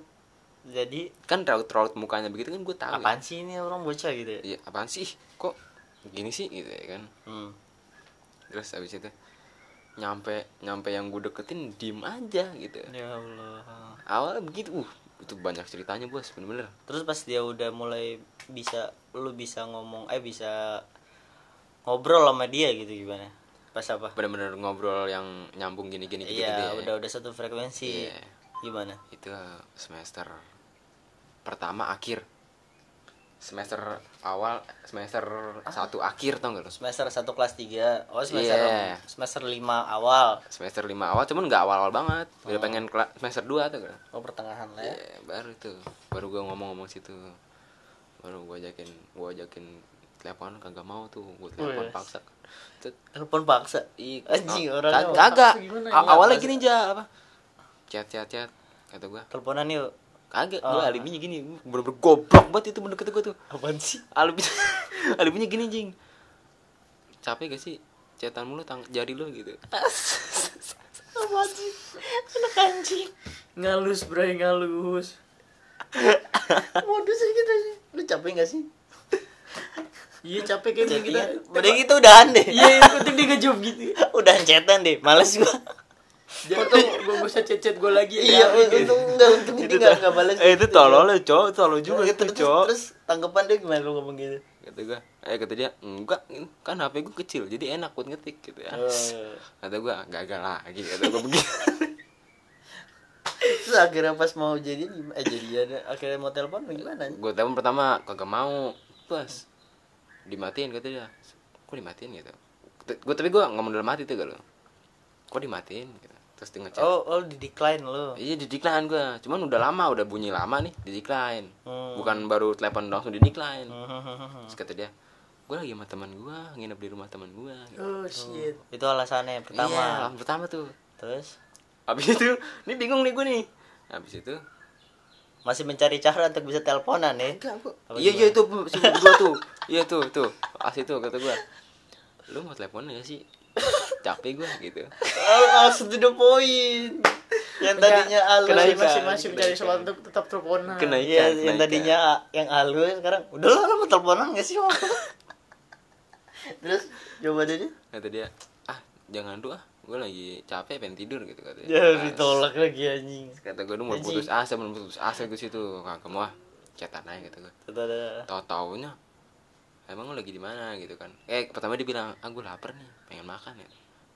Jadi
kan raut-raut mukanya begitu kan gue tahu
apaan sih ini orang bocah gitu ya?
ya. Iya, apaan sih kok gini sih gitu ya kan
Hmm.
terus habis itu nyampe nyampe yang gue deketin diem aja gitu
Ya Allah.
awalnya begitu uh itu banyak ceritanya bos bener-bener
Terus pas dia udah mulai bisa lu bisa ngomong eh bisa ngobrol sama dia gitu gimana? Pas apa?
bener-bener ngobrol yang nyambung gini-gini gitu,
Iya,
gitu ya.
udah udah satu frekuensi.
Iya.
Gimana?
itu semester pertama akhir semester awal semester satu akhir tau gak lo
Semester 1 kelas 3. Oh, semester
Iya.
semester 5 awal.
semester lima awal cuman nggak awal-awal banget udah pengen kela- semester dua tuh kan
Oh, pertengahan lah ya.
Iya, baru tuh baru gue ngomong-ngomong situ baru gue ajakin gue ajakin telepon kagak mau tuh gue telepon
Wes.
paksa Cet,
Telepon paksa.
ih,
Anjing,
ah,
orangnya
kag-
paksa
kagak
gimana
A-
ya?
awalnya gini aja apa chat chat chat kata gue
Teleponan yuk.
kagak
Oh.
gue alibinya gini bener-bener goblok banget itu bener kata gue tuh
Apaan sih?
alibinya alibinya gini jing capek gak sih chatan mulu tang jari lu gitu
Apaan sih? Anak anjing.
Ngalus bray ngalus.
Modusnya gitu sih. Lu capek gak sih?
Iya capek kayaknya kita.
Chattingan. Udah gitu udahan deh.
Iya, yang penting dia ngejob gitu.
udahan chatan deh. Males gua.
Jangan tuh gue bisa cecet gue lagi. gitu.
iya, untung enggak untung dia enggak enggak balas.
eh itu tolol ya cowok tolol juga
Terus-
itu
terus-
cowok
Terus tanggapan dia gimana lu ngomong gitu?
kata gue eh kata dia enggak kan HP gue kecil jadi enak buat ngetik gitu ya
Eh.
kata gue gagal lagi kata gue begitu
Terus akhirnya pas mau jadi eh jadian akhirnya mau telepon gimana?
gue telepon pertama kagak mau plus dimatiin kata dia kok dimatiin gitu gue tapi gue nggak mau dalam hati tuh gak lo kok dimatiin gitu terus dia ngechat
Oh, oh di decline lu.
iya di decline gue cuman udah lama udah bunyi lama nih di decline
Hmm.
bukan baru telepon langsung di decline
Hmm.
terus kata dia gue lagi sama teman gue nginep di rumah teman gue gitu.
Oh shit.
Itu alasannya yang pertama.
Iya, alasan pertama tuh
Terus
Habis itu, ini bingung nih gue nih. Habis itu,
masih mencari cara untuk bisa teleponan ya. Apa
iya iya
gimana?
itu si gue tuh, iya tuh tuh, as itu kata gue. Lu mau telepon ya sih? Capek gue gitu.
Oh, langsung to the point. Yang tadinya halus
Kenaikan.
masih
Masih-masih mencari
Kenaikan.
soal untuk tetap teleponan.
Kenaikan,
Iya, yang
kenaikan.
tadinya a- yang halus sekarang udah lah lu mau teleponan gak sih? Om?" Terus coba deh.
Kata dia, ah jangan dulu ah, gue lagi capek pengen tidur gitu kata dia.
Ya
Nah,
ditolak lagi anjing.
Kata gue lu mau putus asa, belum putus asa gue situ, kagak mau ah. cetan aja gitu gue
Tadadada.
tau taunya emang lu lagi di mana gitu kan eh pertama dia bilang ah gue lapar nih pengen makan ya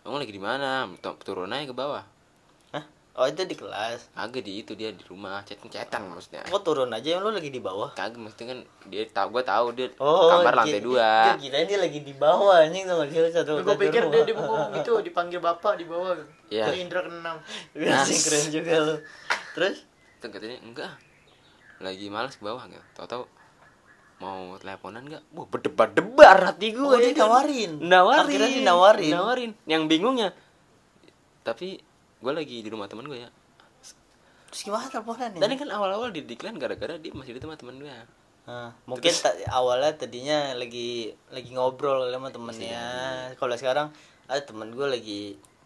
emang lu lagi di mana Tu- turun aja ke bawah
Hah? Oh itu di kelas.
agak di itu dia di rumah cetan cetan maksudnya
Kok turun aja yang lu lagi di bawah?
kagak maksudnya kan dia tau gue tahu dia kamar lantai
gi-
dua
Dia kirain dia lagi di bawah anjing sama dia satu
gue
satu
pikir
rumah.
dia di gua gitu dipanggil bapak di bawah gitu.
Iya.
Ke Indra keenam.
Anjing, keren juga lu. Terus
Tuh katanya enggak lagi males ke bawah gitu tau tau mau teleponan nggak wah berdebar debar hati gue
Oh, dia nawarin.
nawarin
Akhirnya dia nawarin.
nawarin yang bingungnya tapi gue lagi di rumah temen gue ya
Hmm. terus gimana teleponan nih?
tadi kan awal awal di decline gara gara dia masih di tempat temen gue
Hah, mungkin ta- awalnya tadinya lagi lagi ngobrol sama temennya kalau sekarang ada temen gue lagi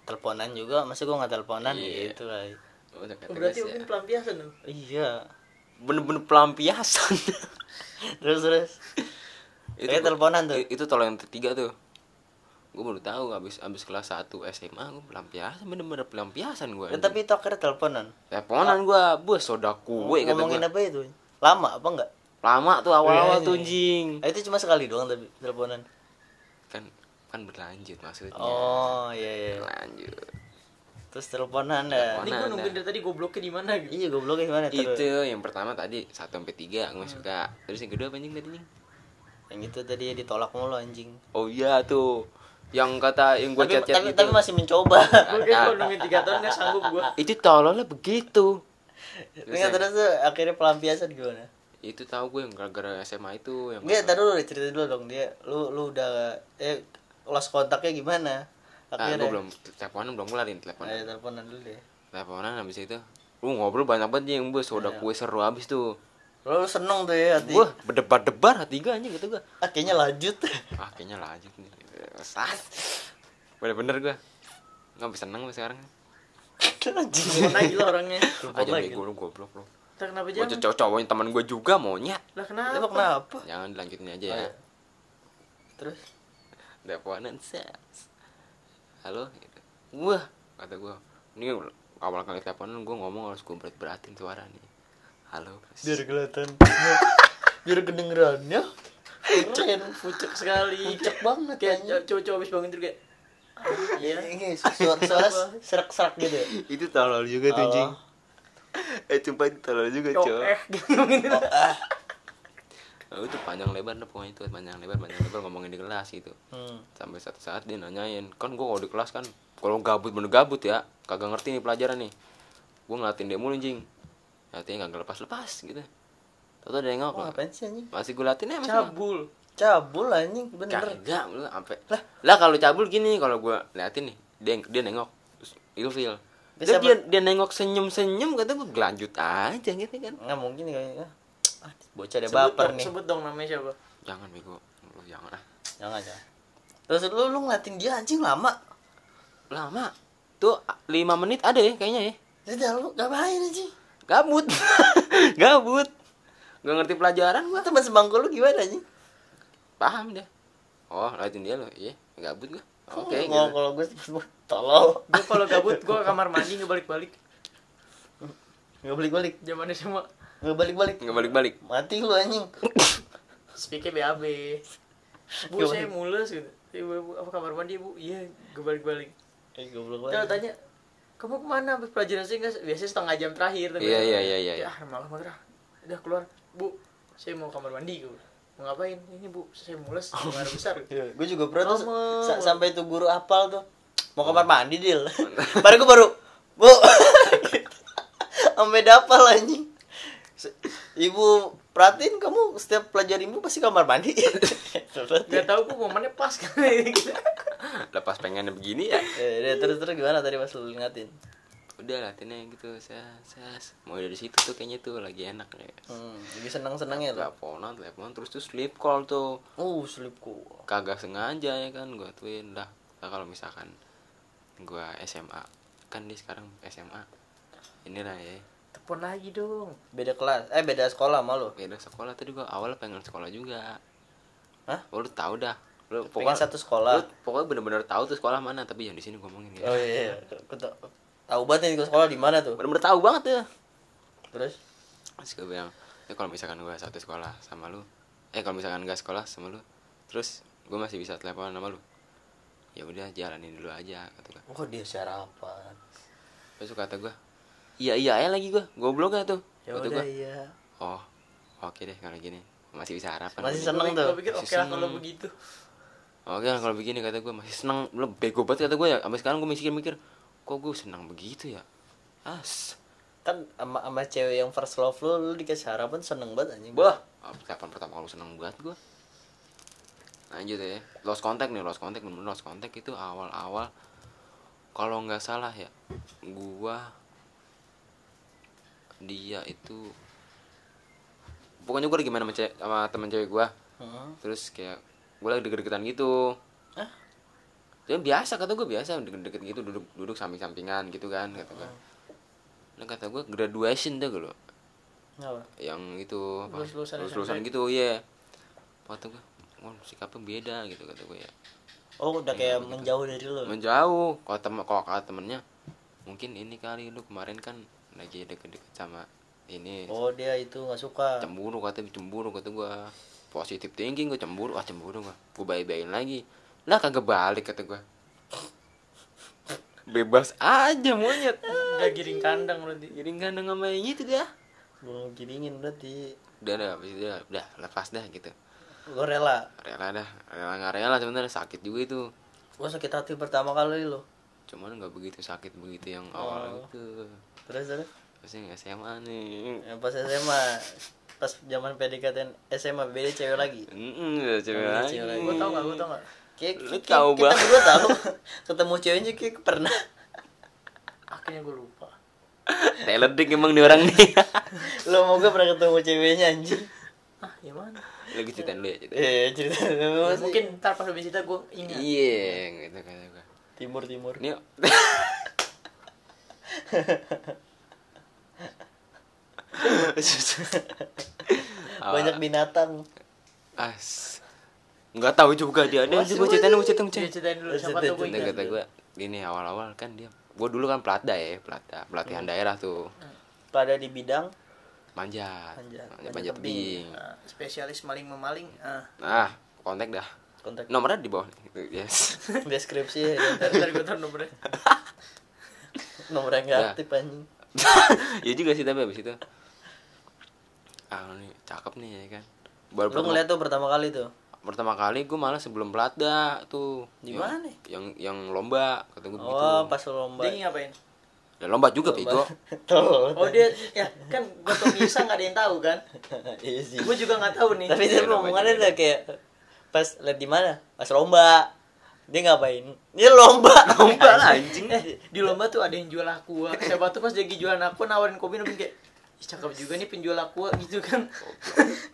teleponan juga masa gue nggak teleponan
Iya.
gitu lah
udah kata
Oh,
gue
berarti
sih ya.
mungkin pelampiasan dong.
iya
bener bener pelampiasan
terus terus Kayak
gua-
teleponan tuh.
i- itu tolong yang ketiga tuh gue baru tahu abis abis kelas 1 SMA gue pelampiasan bener bener pelampiasan gue
Ya, tapi itu akhirnya teleponan
teleponan gue bos soda kue kata
ngomongin
gue
apa itu lama apa enggak
lama tuh
Iya,
awal-awal tuh
iya.
anjing
Ah, itu cuma sekali doang tapi teleponan
kan kan berlanjut maksudnya
oh iya iya
berlanjut
terus teleponan ya
Teleponan.
Ini gue
Mana,
nungguin
nah.
dari tadi gobloknya di mana gitu.
iya gobloknya gimana terus Hmm.
itu yang pertama tadi satu sampai tiga gue suka terus yang kedua apa anjing tadi anjing?
yang itu tadi ditolak mulu anjing
oh iya tuh yang kata yang gitu. gue
tapi,
chat chat
tapi,
itu
tapi masih mencoba
Iya.
Gue kayak gue nungguin 3 tahun gak sanggup gue.
itu tololnya begitu
Enggak
yang-
terus tuh akhirnya pelampiasan gimana?
itu tahu gue yang gara-gara SMA itu yang
Enggak,
kata-
tadi lu cerita dulu dong dia. Lu lu udah eh lost kontaknya gimana?
ah,
Akhirnya.
gue belum teleponan belum kelarin teleponan
Ayo teleponan dulu deh.
teleponan habis itu lu ngobrol banyak banget yang bos soda kue seru habis tuh
Lu, lu seneng tuh ya hati.
gue berdebar-debar hati gue anjing gitu gue
Ah, kayaknya lanjut.
ah kayaknya lanjut nih sas bener-bener gue nggak bisa seneng gue sekarang
Anjing.
Mana gila orangnya.
Goblok
aja
lagi.
bego lu goblok lu
Entah kenapa
gue
jangan.
cowok cowoknya teman gue juga monyet
Lah
Lu
kenapa?
kenapa?
jangan dilanjutin aja
Oh,
ya
iya. Terus
teleponan sas halo gitu. wah kata gue ini awal kali teleponan gue ngomong harus gue berat beratin suara nih halo
biar kelihatan. biar kedengerannya. Keren.
Pucuk sekali.
Pucuk banget
Kayak
kayaknya.
cowok-cowok habis bangun tidur kayak.
Iya. Ini suara, suara serak-serak gitu. ya?
itu tolol juga
tuh, anjing.
eh cuma tolol juga
Cok eh. Ngomongin itu.
Oh, ah,
Lalu Nah, itu panjang lebar deh pokoknya itu panjang lebar panjang lebar ngomongin di kelas gitu
Hmm.
sampai satu saat dia nanyain kan gue kalau di kelas kan kalau gabut bener gabut ya kagak ngerti nih pelajaran nih gue ngeliatin dia mulu anjing ngeliatin kagak lepas lepas gitu tau ada yang
Oh,
ngomong
ngapain sih anjing?
masih gue latihin ya masih
Cabul. Kan.
Cabul anjing
gua-
bener.
kagak lu sampai lah lah kalau cabul gini kalau gue liatin nih dia dia nengok terus ilfil
Terus
dia,
apa?
dia, dia nengok senyum senyum kata gue lanjut aja gitu kan
Nggak mungkin kayaknya. Ah, bocah deh
Sebut
baper
dong-
nih.
Sebut dong namanya siapa?
jangan bego lu jangan ah
Jangan jangan. Terus lu lu ngeliatin dia anjing lama.
lama tuh a- lima menit ada ya kayaknya ya
Jadi lu ngapain anjing?
gabut gabut gak ngerti pelajaran gue
Kan Gua teman sebangku lu gimana anjing?
paham dia oh liatin dia lo iya gabut gue oke gitu.
Kalau kalau gue sebut tolol.
Gue kalau gabut gue ke kamar mandi nggak balik-balik.
Enggak balik-balik.
Zamannya semua
Nggak balik-balik.
nggak balik balik
Mati lu anjing.
speaknya BAB. Bu
Gimana?
saya mules gitu. Ibu, ibu, apa kamar mandi bu? Iya, gue balik-balik.
Eh goblok
Terus
banget.
tanya, kamu kemana? Habis pelajaran saya nggak? Biasanya setengah jam terakhir. tuh.
Iya, iya, iya, iya.
Ya, ah, malah mager. ah. Udah keluar, bu. Saya mau kamar mandi gue. Mau ngapain? Ini bu, saya mules.
Oh.
Kamar besar.
Iya, gue juga pernah tuh
Ngomong.
sa- sampai itu guru apal tuh. Mau kamar mandi, Dil. Baru gue baru, Bu. Gitu. Sampai dapal anjing. Se- Ibu perhatiin kamu setiap pelajaran ibu pasti kamar mandi.
Gak tau gue momennya pas kali.
lepas pengennya begini ya
Eh, deh, terus terus gimana tadi pas lu ngatin?
udah latihannya gitu sas sas mulai dari situ tuh kayaknya tuh lagi enak ya
Hmm, lagi seneng senengnya tuh.
teleponan teleponan terus tuh sleep call tuh
Uh, slipku.
kagak sengaja ya kan gue tuin lah Nah, kalau misalkan gue SMA kan dia sekarang SMA ini lah ya
Telepon lagi dong.
Beda kelas, eh beda sekolah sama lu.
beda sekolah tadi gua awal pengen sekolah juga
Hah?
lu tahu dah lu
Pengen satu sekolah.
lu pokoknya bener-bener tahu tuh sekolah mana tapi yang di sini ngomongin ya
Oh iya, iya. Gua tau- tahu banget nih gua sekolah di mana tuh.
bener-bener tahu banget ya
Terus
terus gue bilang ya kalau misalkan gue satu sekolah sama lu eh kalau misalkan gak sekolah sama lu terus gue masih bisa telepon sama lu ya udah jalanin dulu aja kata gue
oh dia sarapan
terus kata gue iya iya aja lagi gue goblok gak tuh
ya udah
kata gue
iya
oh oke deh kalau gini masih bisa harapan
Masih
gua.
seneng
Gua-
tuh.
gua pikir
Masih
oke lah kalau
seneng.
begitu
Oke lah kalau begini kata gue masih senang lo bego banget kata gue ya sampai sekarang gue mikir-mikir kok gue senang begitu ya as
kan sama sama cewek yang first love lu lu dikasih harapan seneng banget anjing
bah Ah, telepon pertama kali senang banget gue lanjut ya lost contact nih lost contact bener lost contact itu awal-awal kalau nggak salah ya gua dia itu pokoknya gue lagi main sama, ce- sama temen cewek gue
Hmm.
terus kayak gue lagi deket-deketan gitu
Hah?
Ya biasa kata gue biasa deket-deket gitu duduk duduk samping sampingan gitu kan kata
Oh.
gue nah kata gue graduation tuh gue
Apa?
yang itu apa,
Lulus-lulusan
lulus-lulusan
SMP.
gitu ya kata gue wah sikapnya beda gitu kata gue ya gitu.
oh udah kayak menjauh dari lu
menjauh kalau temen kalau kata temennya mungkin ini kali lu kemarin kan lagi deket-deket sama ini
oh dia itu nggak suka
cemburu kata cemburu kata gua positif thinking gua cemburu ah cemburu gua gua bayi bayin lagi lah kagak balik kata gua bebas aja monyet
udah giring kandang berarti
jadi nggak ada ngamain gitu dah
belum giringin berarti
udah udah habis itu udah, udah lepas dah gitu
gue rela
rela dah rela nggak rela sebenarnya sakit juga itu
gue sakit hati pertama kali lo
cuman nggak begitu sakit begitu yang
Oh.
awal itu
terus terus
pasti SMA nih
Ya, pas SMA pas zaman PDKT SMA beda cewek lagi
Mm-mm, udah cewek
Udah
lagi.
cewek lagi.
gue tau gak gue tau
iya,
gak
kayak
Lu
kayak
tahu
kita
banget.
berdua tahu ketemu ceweknya kayak pernah
akhirnya gue lupa
Teledik emang nih orang nih
lo mau gue pernah ketemu ceweknya anjing
ah ya mana
lagi ceritain dulu ya cerita
eh cerita
Ya,
lu sih.
mungkin ntar pas habis cerita gue ingat
iya gitu kata gua
timur timur
Ini ah.
banyak binatang
as nggak tahu juga dia ada juga ceritain mau ceritain
Iya, ceritain dulu siapa
Ceritain,
tuh gue
Nah,
ingat
kata gue ini awal-awal kan dia gue dulu kan pelatda ya pelatda pelatihan daerah tuh
pada di bidang
manjat
Manjat.
Hmm.
Manjat
manjat, manjat tebing
Ah, spesialis maling memaling ah
nah kontak dah
kontak
nomornya di bawah gitu, yes
deskripsi ya,
ntar ntar gue tau nomornya
nomor yang nggak
Nah,
aktif anjing
ya juga sih tapi abis itu ah lu nih cakep nih ya kan baru
lu ngeliat tuh pertama kali tuh
pertama kali gue malah sebelum pelatda tuh
Di
Yang-
mana?
yang yang lomba kata gue begitu
oh pas lu lomba
dia ngapain
Dan lomba juga gitu. bego
tuh
oh dia ya kan gue tau bisa nggak ada yang tahu kan
iya sih
gue juga nggak tahu nih
tapi dia
Iya,
ngomongannya
namanya
udah kayak pas liat di mana pas lomba dia ngapain dia lomba
lomba lah anjing
Eh, di lomba tuh ada yang jual aqua siapa tuh pas lagi jualan aqua nawarin kopi nawarin kayak Ih, cakep juga nih penjual aqua gitu kan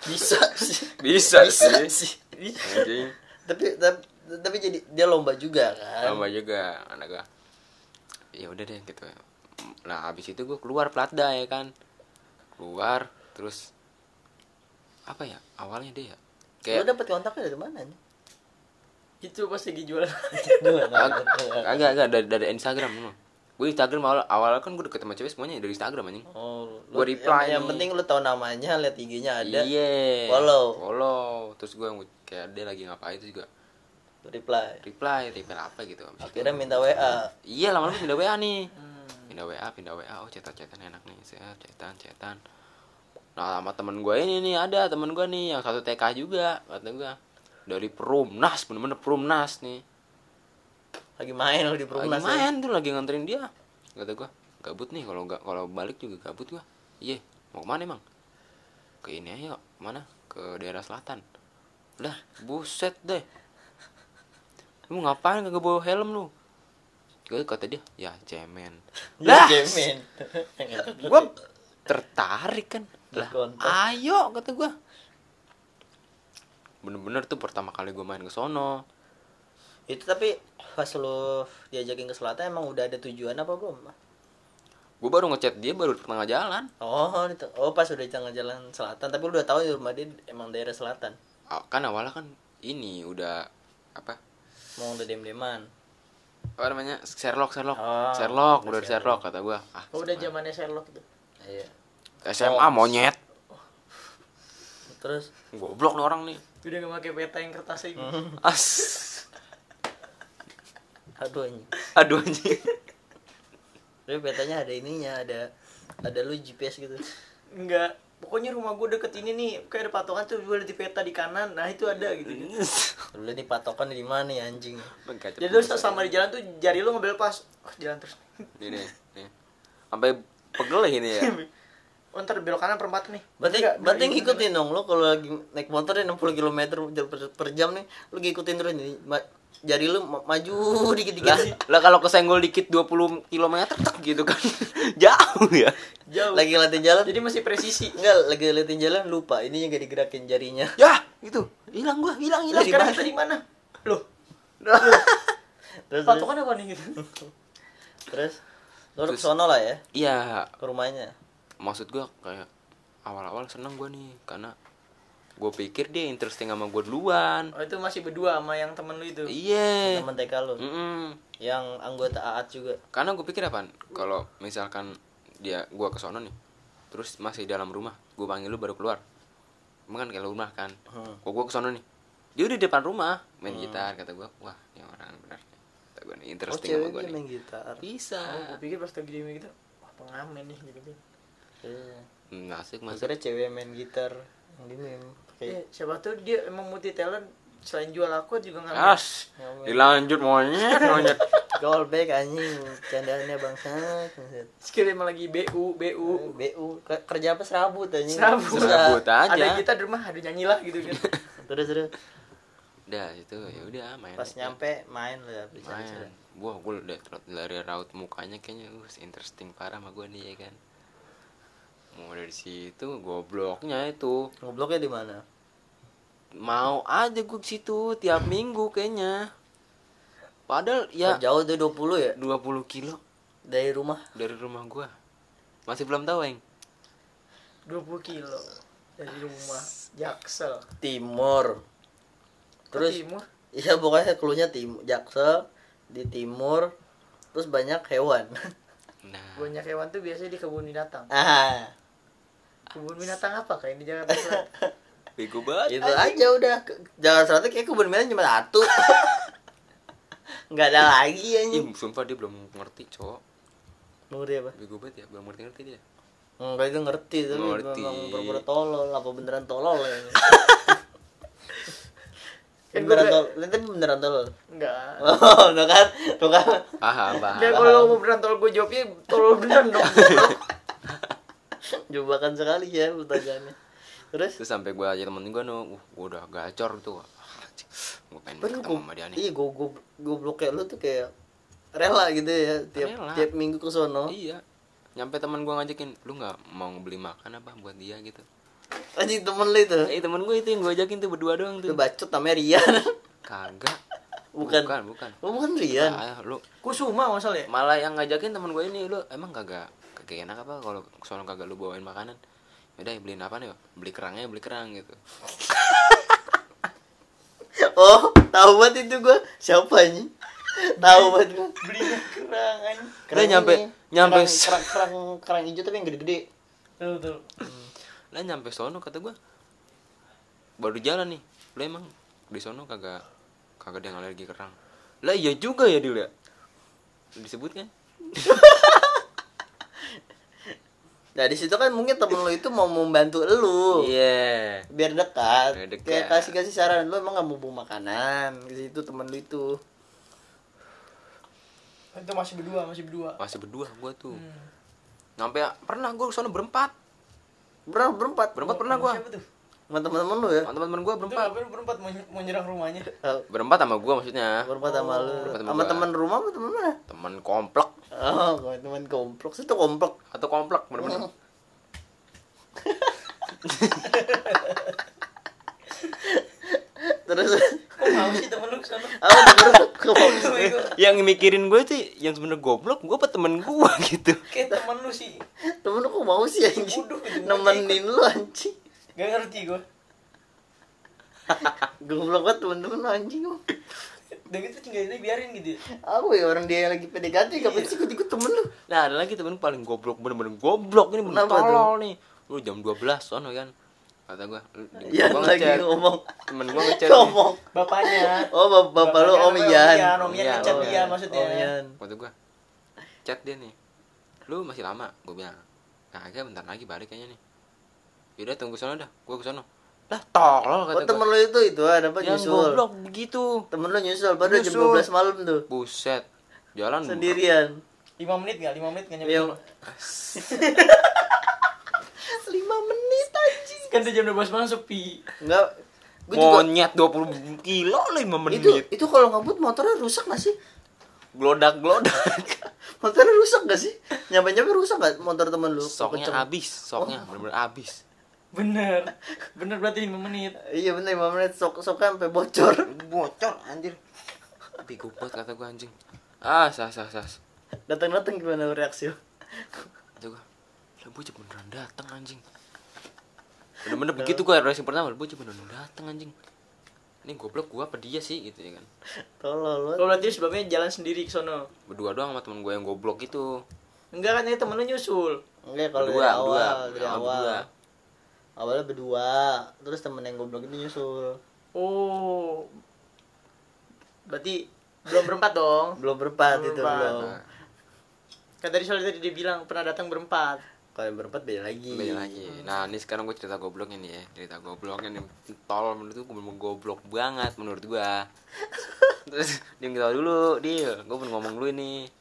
bisa sih
bisa,
bisa
sih,
sih
anjing
tapi tapi tapi jadi dia lomba juga kan
lomba juga anak gue ya udah deh gitu nah habis itu gue keluar pelatda ya kan keluar terus apa ya awalnya dia ya
lu
kayak
dapet kontaknya dari mana nih
itu pas lagi jualan
agak agak dari, dari Instagram lu gue Instagram awal awalnya kan gue deket sama cewek semuanya dari Instagram anjing
Oh, lu,
Gua reply
yang, yang
nih.
penting lu tahu namanya, lihat IG-nya ada,
Iya.
follow.
Follow. Terus gue kayak dia lagi ngapain terus juga
reply.
reply, reply apa gitu. Abis itu-
Akhirnya minta WA.
Iya, lama-lama pindah WA nih.
Hmm.
Pindah WA, pindah WA. Oh, cetan-cetan enak nih. Set, cetan, cetan. Nah, sama temen gue ini nih ada temen gue nih yang satu TK juga kata gue dari Perumnas bener-bener Perumnas nih
Lagi main lu di
lagi
Perumnas. ya.
main tuh lagi nganterin dia kata gue gabut nih kalau nggak kalau balik juga gabut gue iya mau kemana emang ke ini aja yuk. mana ke daerah selatan lah buset deh lu ngapain kagak bawa helm lu Gua- kata dia ya cemen
Iya,
lah
Jamin.
gue tertarik kan lah
Dikontak.
ayo kata gue bener-bener tuh pertama kali gue main ke sono
Itu tapi pas lu diajakin ke selatan emang udah ada tujuan apa belum?
gue baru ngechat dia baru di tengah jalan
Oh, itu. Oh, pas udah di tengah jalan selatan, tapi lu udah tahu di rumah dia emang daerah selatan.
Ah, kan awalnya kan ini udah apa
Mau udah dem-deman.
apa namanya Sherlock Sherlock
Oh, udah
Sherlock udah di Sherlock kata gua ah
oh udah zamannya Sherlock tuh
Iya.
SMA monyet
terus
Goblok nih orang nih.
udah nggak pakai peta yang gitu. kertas lagi
Hmm.
As.
aduh anjing
Aduh anjing.
tapi petanya ada ininya ada ada lu GPS gitu
enggak pokoknya rumah gue deket ini nih kayak ada patokan tuh gue di peta di kanan nah itu ada gitu
lu nih patokan di mana ya anjing
jadi lu sama di jalan tuh jari lu ngebel pas oh, jalan terus
Nih nih. nih. Sampai pegel ya ini ya.
oh, ntar belok kanan perempat nih
Berarti,
Enggak, gitu,
berarti
enggak,
ngikutin dong lo kalau lagi naik motor ya 60 km per, per jam nih lu ngikutin terus nih ma- jari lu ma- maju dikit-dikit
Lah, lah kalau kesenggol dikit 20 km tek gitu kan. Jauh ya.
jauh
lagi ngeliatin jalan
jadi masih presisi
enggak lagi ngeliatin jalan lupa ini gak digerakin jarinya
Yah, itu. Gitu. Hilang gua, hilang,
Lah
hilang.
Ya. sekarang kita di mana? Loh,
terus terus,
patokan apa nih gitu?
terus lu ke sono lah ya
Iya,
ke rumahnya
maksud gua kayak awal-awal seneng gua nih karena gua pikir dia interesting sama gua duluan.
Oh itu masih berdua sama yang temen lu itu.
Iya.
teman TK lu
Mm-mm.
yang anggota AAT juga
Karena gue pikir apaan? Kalau misalkan dia gua ke sono nih, terus masih dalam rumah, gua panggil lu baru keluar. Emang kan kayak lu rumah kan.
Hmm.
Kok gua ke sono nih. Dia udah di depan rumah main gitar kata gua. Wah, ini orang benar. Kata gua nih
oh
interesting sama
cewek
gua
dia
nih.
main gitar
Bisa.
Oh, gue pikir pas lagi diem gitu, wah pengamen nih gitu.
Iya.
Hmm, asik
Gua
mas.
kira cewek main gitar yang di meme
Eh,
pakai
siapa tuh dia emang multi talent selain jual aku juga ngamen.
As. Dilanjut monyet, monyet.
gold bag anjing candaannya bangsat bangsat.
Skill emang lagi BU BU.
BU Ke- kerja apa serabut anjing Udah.
Serabut.
Serabut aja.
Ada kita di rumah, ada nyanyilah gitu kan.
terus terus
Udah itu ya udah main.
pas
aja.
nyampe main lah bercanda
main. Wah, gue udah ter- dari raut mukanya kayaknya uh, interesting parah sama gue nih ya kan. Mau dari situ gobloknya itu.
ngobloknya di mana
Mau aja gue ke situ tiap minggu kayaknya. Padahal ya
ya. jauh tuh 20 ya
20 kilo
dari rumah
dari rumah gua. Masih belum tahu, Eng.
20 kilo dari rumah Jaksel.
timur
Terus
terus
timur.
iya pokoknya keluarnya tim jaksel di timur terus banyak hewan
Nah,
Banyak hewan tuh biasanya di kebun binatang.
ah
Kebun binatang apa kayak di Jakarta Selatan?
bego banget.
itu gitu aja udah Ke- jalan selatan kayak kebun merah cuma satu nggak ada lagi
Ih,
anjing
sumpah dia belum ngerti, cowok.
Nuri apa?
Bego banget ya, belum ngerti-ngerti dia.
Enggak itu ngerti tapi
Ngerti.
memang pura-pura tolol apa beneran tolol ya?
Kan
beneran
gua-
tolol, tapi beneran tolol.
Enggak.
Oh, tuh kan, tuh kan.
Paham,
Ya
paham.
kalau mau beneran tolol gue jawabnya tolol beneran dong.
Jebakan sekali ya pertanyaannya. Terus
Terus sampai gua aja temen gua nu, uh, gua udah gacor tuh. Ah, anjing, Gua pengen
baru
ketemu sama dia
gue,
nih.
iya gue gue goblok kayak lu tuh kayak rela gitu ya tiap
Rela.
tiap minggu ke sono.
Iya. Nyampe teman gua ngajakin, "Lu nggak mau beli makan apa buat dia gitu?"
Anjing temen lu itu.
Eh, temen gue itu yang gua ajakin tuh berdua doang
Itu
tuh.
bacot namanya Rian.
Kagak.
Bukan.
bukan. bukan.
Oh, bukan Rian.
Ah, lu
Kusuma masalah ya?
malah yang ngajakin teman gue ini, "Lu emang kagak kagak enak apa kalau soalnya kagak lu bawain makanan?" Udah ya beliin apa nih, Bang? Beli kerangnya, beli kerang gitu.
Oh, tahu banget itu gue. Siapa anjing? Tahu banget gue.
Belinya kerangan.
Udah nyampe nyampe
kerang, kerang, kerang, kerang hijau tapi yang gede-gede.
Tuh tuh.
lah nyampe sono kata gua baru jalan nih lu emang di sono kagak kagak ada yang alergi kerang lah iya juga ya dulu ya disebut kan
Nah di situ kan mungkin temen lu itu mau membantu lu
iya
biar dekat.
Biar dekat.
Kayak kasih kasih saran lu emang gak mau bawa makanan ke situ temen lu itu.
Itu masih berdua, masih berdua.
masih berdua gua tuh
Hmm.
nyampe pernah gua sono berempat
Berapa berempat?
Oh, berempat pernah gua
Siapa tuh?
Sama temen-temen lu ya?
sama teman-teman gua
Itu
berempat
ngapain lu berempat mau, mau nyerang rumahnya?
Eh,
berempat sama gua maksudnya
Berempat sama lu.
Oh, berempat sama
Sama
gua.
temen rumah apa temen mana?
temen komplek
Oh, kalau temen komplok situ komplok.
atau komplek bener-bener
Terus
Kok mau sih temen lu kesana?
apa temen lu komplok?
yang mikirin gue sih yang sebenarnya goblok gue apa temen gue gitu
Kayak temen lu sih.
Temen lu kok mau sih anjing?
Bodoh gitu,
Nemenin lu anjing.
Gak ngerti gua.
Goblok banget temen-temen lu anjing. lu.
Udah gitu tinggalin aja biarin gitu.
Apa ya orang dia yang lagi PDKT kapan sih ikut-ikut temen lu?
Nah ada lagi temen paling goblok bener-bener goblok ini bener
Kenapa
tolol nih Lu jam 12 sono kan kata gue
Iya lagi ngomong.
temen gue ngechat nih.
Ngomong.
Bapaknya.
Oh, bap- bapak lu Om
namanya
Ian.
Om Ian
Iya,
ngechat
Om
dia
Ian.
maksudnya.
Om Ian.
waktu gue chat dia nih lu masih lama gue bilang kagak bentar lagi balik kayaknya nih yaudah tunggu sana dah gue kesana lah tolol
Oh,
kata
temen
gue
lu itu itu ada apa
yang
nyusul.
goblok begitu
Temen lu nyusul baru jam
Nyusul. Hmm.
12 malam tuh.
buset jalan
Sendirian.
5 menit enggak? 5 menit enggak nyampe.
Yang
rumah.
5 menit anjing.
Kan udah jam 12 malam sepi.
Enggak. Gue juga
monyet 20 kilo 5 menit
itu itu kalau ngebut motornya rusak gak sih?
glodak glodak
Motornya rusak gak sih? Nyampe-nyampe rusak gak motor temen lu?
soknya
Kenceng. Oh.
habis soknya bener-bener habis
Bener. Bener berarti 5 menit.
Iya bener 5 menit sok soknya sampai bocor.
bocor anjir bego banget kata gue anjing ah sas sas sas
Datang-datang gimana reaksi lu?
kata gue lah bocah beneran datang anjing bener-bener
Nah.
begitu gue reaksi pertama lah bocah beneran datang anjing ini goblok gue apa dia sih gitu ya kan
Tolol. lu.
Lo Oh, berarti sebelumnya jalan sendiri ke sono.
berdua doang sama temen gue yang goblok itu
Enggak kan ini temen lu nyusul.
Enggak kalau dari
berdua berdua
awal, dari
berdua, berdua.
awal. Awalnya berdua, terus temen yang goblok itu nyusul.
Oh. Berarti belum berempat dong.
Belum berempat
Belum
itu
berempat.
belum.
Nah,
Kan tadi soalnya tadi dia bilang pernah datang berempat.
Kalau yang berempat beda lagi. Hmm.
beda lagi nah ini sekarang gue cerita gobloknya nih ya cerita gobloknya nih tol menurut gue bener goblok banget menurut gue terus dia ketawa dulu dia gue pun ngomong dulu ini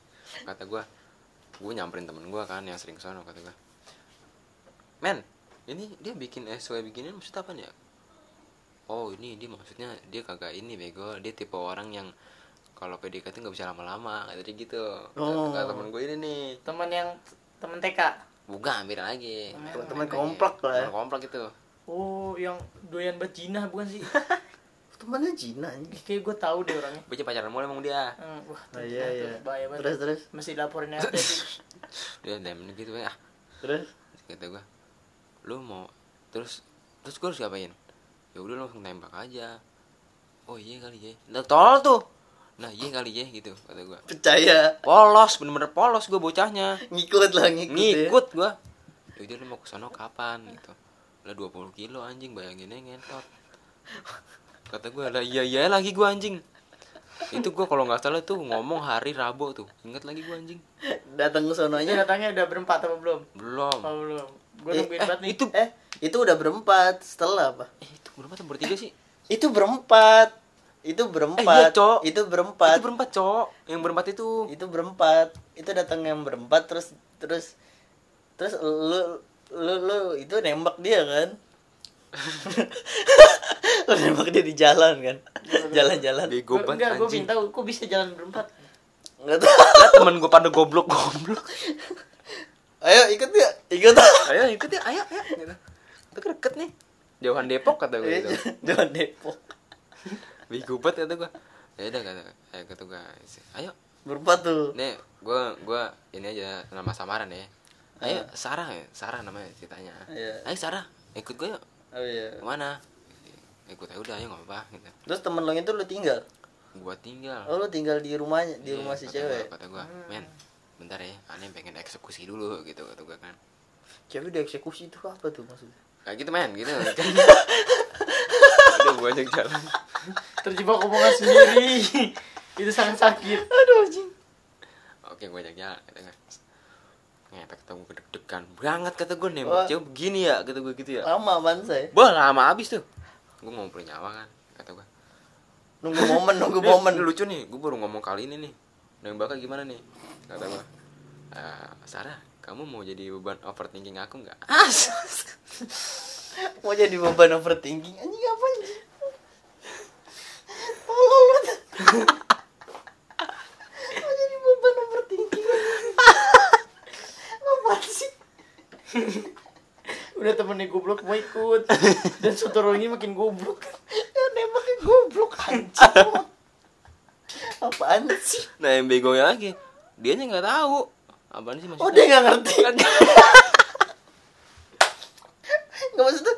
kata gue gue nyamperin temen gue kan yang sering sono kata gue men ini dia bikin SW beginian maksud apa ya oh ini dia maksudnya dia kagak ini bego dia tipe orang yang kalau PDKT nggak bisa lama-lama kata dia gitu
Oh.
kata temen gue ini nih
Teman yang teman TK.
Bukan, beda lagi.
Teman- teman komplek lah ya.
Teman komplek itu.
Oh, yang doyan banget jinah bukan sih?
Temennya Jina anjing.
Ih, Kayak gue tahu deh orangnya.
Bocah pacaran mulu emang dia.
Hmm, wah,
Oh,
Nah,
tuh,
iya
tuh,
iya.
bahaya banget.
Terus terus
Mesti laporin aja sih.
Dia diamond gitu ah.
terus.
Kata gua, "Lu mau terus terus gua harus ngapain?" Ya udah lu langsung tembak aja. Oh iya kali ya. Nah, tolol tuh. Nah, iya kali ya gitu kata gua.
Percaya
Polos, bener-bener polos gua bocahnya.
ngikut lah ngikut.
Gitu
ya.
Ngikut gua. Ya udah lu mau ke sono kapan gitu. Lah 20 kilo anjing bayanginnya ngentot. Kata gua, "Lah iya iya lagi gua anjing." Itu gua kalau nggak salah tuh ngomong hari Rabu tuh. Ingat lagi gua anjing.
Datang ke
Ini
sononya.
datangnya udah berempat apa belum?
Belum.
Apa belum? Gue
Eh,
nungguin banget nih.
itu
Eh, itu udah berempat setelah apa?
eh itu berapa tuh? Bertiga sih?
Itu berempat. Itu berempat.
Eh, iya, Cok.
Itu berempat.
Itu berempat, Cok. Yang berempat itu.
itu berempat itu datang yang berempat terus terus terus lu lu lu itu nembak dia kan lu nembak dia di jalan kan jalan-jalan
Bego
Gua, enggak,
banget
gue
anjing.
minta kok bisa jalan berempat.
nggak tahu
Lah temen gua pada goblok-goblok.
ayo ikut ya ikut
Ayo ikut ya, ayo, ayo. Gitu. Itu kan deket nih. Jauhan Depok kata gua gitu.
Iya, jangan depok
Bego banget kata gua. Ya udah kata eh kata gua, ayo
berempat tuh
Nih, gue gua ini aja nama samaran ya. Ayo Sarah ya, Sarah namanya ceritanya.
Ah. Iya.
Ayo Sarah, ikut gue yuk.
oh iya
Kemana? Ikut aja udah, ayo nggak apa-apa. Gitu.
terus temen lo itu lu tinggal
Gue tinggal.
oh lu tinggal di rumahnya di
Iya,
rumah si
kata gua-
cewek Ah.
Kata gue, men, bentar ya, aneh pengen eksekusi dulu gitu kata gue kan.
cewek udah eksekusi itu apa tuh maksudnya
Kayak gitu men, gitu. udah gue ajak jalan.
Terjebak omongan sendiri. itu sangat sakit. Aduh anjing.
Oke, gue ajak jalan. Kata gue. Ngetek ketemu deg-degan banget kata gue nembak
Wah. Ah.
cewek begini ya, kata gue gitu ya.
lama apaan saya
Bah lama abis tuh Gue ngumpulin nyawa kan Kata gue
nunggu momen nunggu
Nih,
momen
ini lucu nih Gue baru ngomong kali ini nih Nembaknya gimana nih Kata gue "Eh, Sarah Kamu mau jadi beban overthinking aku nggak? As
mau jadi beban overthinking anjing apa anjing tolol lu mau jadi beban overthinking apa sih
Udah temennya goblok mau ikut. Dan satu orang ini makin goblok.
ya nembaknya goblok anjing apaan sih
Nah yang begonya lagi Dianya nggak tahu Apaan sih maksudnya
oh dia nggak ngerti nggak maksudnya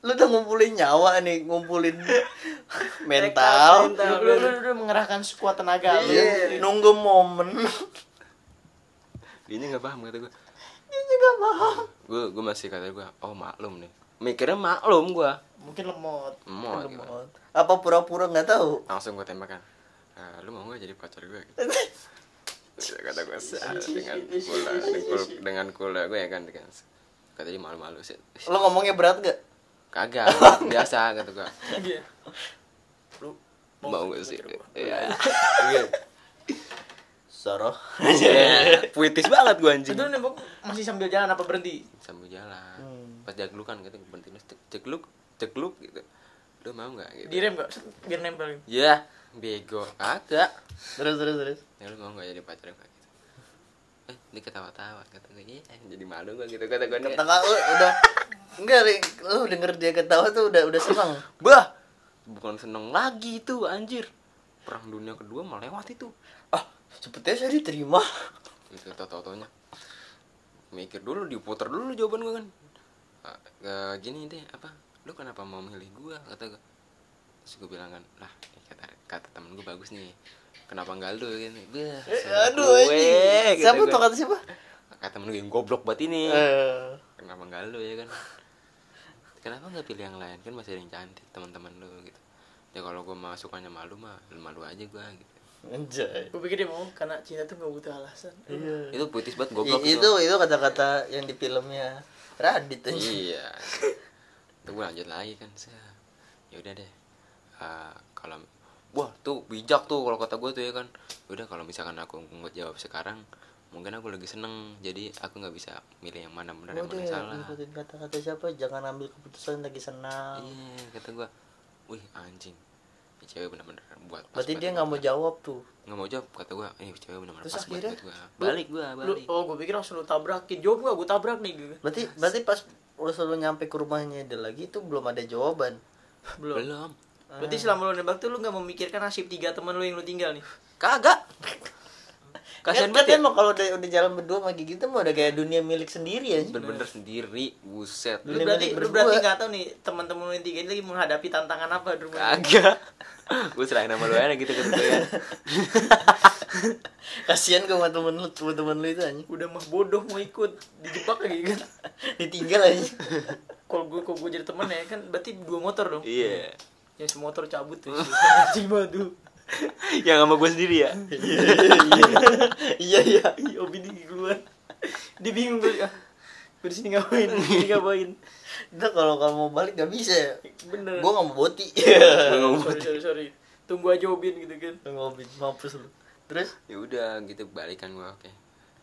lu udah ngumpulin nyawa nih ngumpulin mental
Lu, lu, lu, lu mengerahkan sekuat tenaga lu.
Iya, nunggu momen
Dianya nggak paham kata gue
dia juga paham
Gue gue masih kata gue Oh maklum nih mikirnya maklum gua
mungkin lemot
Lemot,
Mungkin
gitu.
lemot.
apa pura-pura nggak tahu
langsung gua tembakan "Eh, lu mau gak jadi pacar gue gitu kata gue dengan kula dengan kul- dengan kula gue ya kan dengan kata dia malu-malu sih
lo ngomongnya berat gak
kagak biasa kata gue
Iya. lu
mau gak sih Iya.
Soroh
Iya. nah. puitis banget gue anjing
itu nembak masih sambil jalan apa berhenti
sambil jalan
Hmm.
pas jaglukan gitu berhenti terus cek- cekluk cekluk gitu lu mau nggak gitu
direm gak Set, biar nempel
ya bego kagak
terus terus terus
ya lu mau nggak jadi pacar gue gitu eh dia ketawa-tawa kata gue iya jadi malu gue gitu kata gue "Nih,
ketawa lu udah enggak Ri. lu denger dia ketawa tuh udah udah seneng
bah bukan seneng lagi itu anjir perang dunia kedua melewati tuh
ah sepertinya saya diterima
itu Gitu, tau-taunya mikir dulu diputar dulu jawaban gue kan Ah, eh, gini deh apa lu kenapa mau milih gue kata gue terus gue bilang kan lah ini kata kata temen gue bagus nih kenapa nggak lu Gitu. gini Bah, salah
Eh, aduh
gue,
anjing siapa
kata gue. Iya.
tuh kata siapa
gitu kata temen gue yang goblok buat ini
Eh,
kenapa nggak lu ya kan kenapa nggak pilih yang lain kan masih ada yang cantik teman-teman lu gitu ya kalau gue masukannya malu mah malu aja gue gitu
anjay
gue pikir dia mau karena cinta tuh gak butuh alasan
Iya,
itu puitis banget goblok
I- itu itu kata-kata yang di filmnya Radit anjing
iya tuh gue lanjut lagi kan ya udah deh Ah, kalau wah tuh bijak tuh kalau kata gue tuh ya kan udah kalau misalkan aku ngejawab sekarang mungkin aku lagi seneng jadi aku nggak bisa milih yang mana benar yang mana
Udah,
yang salah
ngikutin kata-kata siapa jangan ambil keputusan lagi senang
iya kata gue wih anjing ini cewek bener-bener buat pas
berarti
buat
dia
gua.
nggak mau jawab tuh
nggak mau jawab kata gue ini cewek bener-bener
Terus
pas buat,
akhirnya?
buat gue balik gue
lu
balik
oh gue pikir langsung lu tabrakin jawab gak gue tabrak nih gitu
berarti berarti pas lu selalu nyampe ke rumahnya dia lagi itu belum ada jawaban
belum
belum
berarti selama lu nembak tuh lu gak memikirkan nasib tiga teman lu yang lu tinggal nih
kagak
Kasian
kasian banget
banget
ya
kan kalau udah, udah jalan berdua sama Gigi tuh mah udah kayak dunia milik sendiri ya.
bener-bener sendiri buset
lu
Bener-bener
berarti lu
berdua.
berarti gak tau nih teman-teman lu yang tiga ini lagi menghadapi tantangan apa di rumah
kagak gue serahin sama lu aja gitu ke gue ya
Kasihan gue sama temen lu, temen, temen lu itu anjing.
udah mah bodoh mau ikut dijebak lagi kan
Ditinggal anjing.
kalau gue kalau gue jadi temen ya kan berarti dua motor dong
iya
yang semotor cabut tuh anjing banget tuh
yang sama gue sendiri ya
Iya iya.
Ih, Obi di keluar dia bingung gue ah, gue di sini ngapain di sini ngapain
Kita kalau kalau mau balik gak bisa ya.
bener
Gue gak mau boti.
sorry sorry sorry tunggu aja Obin gitu kan
Lu Ngobit mampus lu. Terus
ya udah gitu balikan gue oke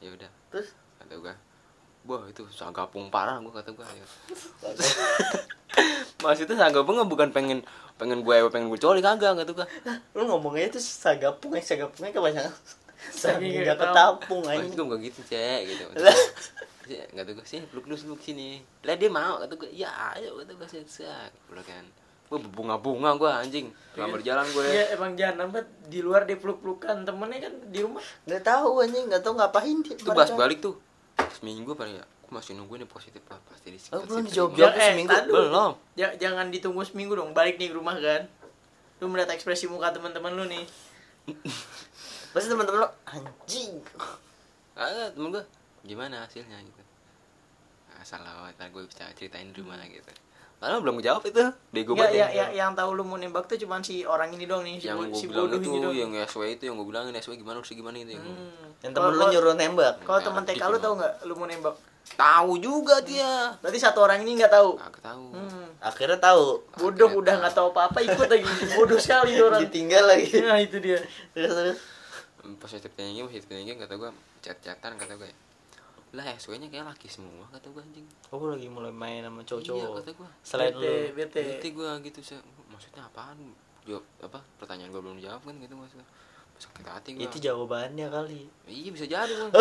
ya udah
terus
kata gue Wah itu sanggapung parah gue kata gue ya. Maksudnya sanggapungnya bukan pengen pengen gue pengen gue coli kagak kata gue.
lu ngomongnya itu sagapung ya sagapungnya kebanyakan saking
Saking
gak
gak
ketampung
Maksud
anjing.
gue bukan gitu cek gitu. Iya,
Lah.
Gak tau gue sih peluk dulu peluk sini. Lah dia mau kata gue ya ayo kata gue sih sak. Peluk kan. Gue bunga-bunga gue anjing. Gak berjalan gue.
ya emang jangan amat di luar dia peluk-pelukan temennya kan di rumah
Gak tahu anjing, gak tahu ngapain dia.
Itu bahas balik tuh. Seminggu paling ya. Aku masih nunggu nih positif lah pasti di
Oh, belum
Ya,
dijawab-jawab
eh,
seminggu.
tahan dulu.
Belum.
Ja- jangan ditunggu seminggu dong balik nih ke rumah kan lu melihat ekspresi muka teman-teman lu nih
Pasti teman-teman lu anjing.
Kagak temen gue gimana hasilnya gitu. Nah, salah ntar gue bisa ceritain di rumah gitu. Padahal belum jawab itu. Bego
Enggak, Hmm. ya,
banget.
ya, yang tahu lu mau nembak tuh cuman si orang ini doang nih si,
Yang
bo-
gue
si
bilang
bodoh
itu,
ini doang
yang SW itu, yang gue bilangin SW gimana, harus gimana itu. yang gua-
Hmm.
Yang temen lu
Kalau-
nyuruh Nah, gitu nembak.
kalau temen TK lu
Dikit
tahu nggak lu mau nembak
Tahu
Hmm.
juga dia.
berarti satu orang ini nggak tahu
Nah.
Kagak tahu.
hmm.
Akhirnya tahu.
bodoh
Akhirnya
udah nggak tahu apa-apa ikut lagi bodoh sekali dia orang
Ditinggal lagi.
nah itu dia
Terus terus.
Hmm.
Positif tinggi, positif tinggi kata gue chat-chatan kata gue. Lah SW-nya kayak laki semua kata gue anjing.
Oh, gue lagi mulai main sama cowok-cowok.
Iya, kata gua.
Selain lu.
bete bete
Nanti gue gitu saya maksudnya apaan? Jawab apa? Pertanyaan gue belum dijawab kan gitu maksudnya. Sakit hati gue.
Itu jawabannya kali.
Iya bisa jadi gue.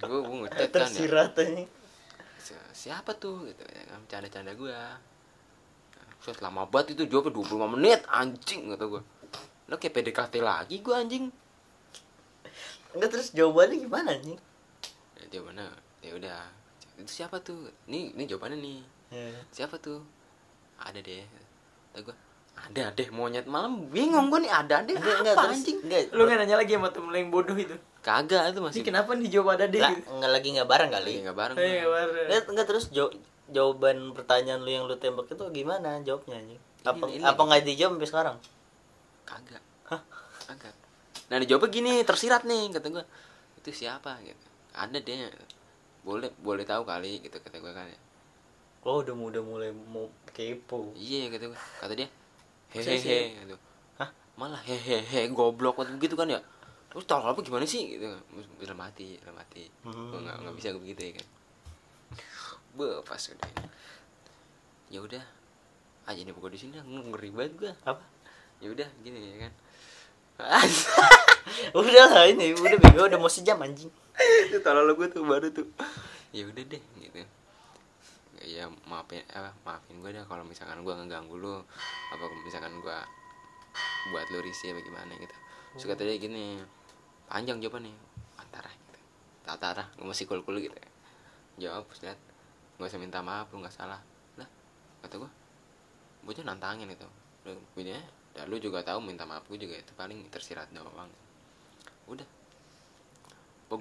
gue gue ngetet kan ya.
Tersirat aja.
Si- Siapa tuh gitu ya kan canda-canda gue. Terus lama banget itu jawabnya 25 menit anjing kata gue. Lo kayak PDKT lagi gue anjing.
Enggak terus jawabannya gimana nih?
Ya, jawabannya ya udah itu siapa tuh ini ini jawabannya nih
Iya.
siapa tuh ada deh kata gue ada deh monyet malam bingung gue nih ada deh
Enggak,
apa
enggak terus
anjing
enggak.
lu nggak nanya lagi sama temen lu yang bodoh itu
kagak itu
ini
masih
kenapa nih jawab ada deh
Lah,
gitu
enggak lagi enggak bareng kali.
lagi nggak bareng
Eh,
gua.
nggak bareng.
Enggak, enggak terus jaw- jawaban pertanyaan lu yang lu tembak itu gimana jawabnya anjing? Apa
Ini, ini.
apa nggak dijawab sampai sekarang?
kagak kagak nah dijawabnya gini tersirat nih kata gue itu siapa gitu ada dia boleh boleh tahu kali gitu kata gue kan ya.
Oh, udah udah mulai mau kepo.
iya kata gue kata dia
Sih,
hehehe gitu hah malah hehehe goblok waktu gitu kan ya terus tahu apa gimana sih gitu udah mati udah mati
Hmm.
Gua nggak nggak bisa begitu ya kan Beuh, pas udah ini. ya udah aja nih pokoknya di sini ngeri banget gue
Apa?
ya udah gini ya kan
Udah lah ini, udah bego udah mau sejam anjing.
itu tolol gue tuh baru tuh ya udah deh gitu ya maafin apa maafin gue deh kalau misalkan gue ngeganggu lu apa kalau misalkan gue buat lu risih apa gimana gitu terus kata dia gini panjang jawabannya antara gitu antara gue masih kul kul gitu jawab terus lihat gak usah minta maaf lu nggak salah lah kata gue bocah nantangin gitu lu punya dan lu juga tahu minta maaf gue juga itu paling tersirat doang udah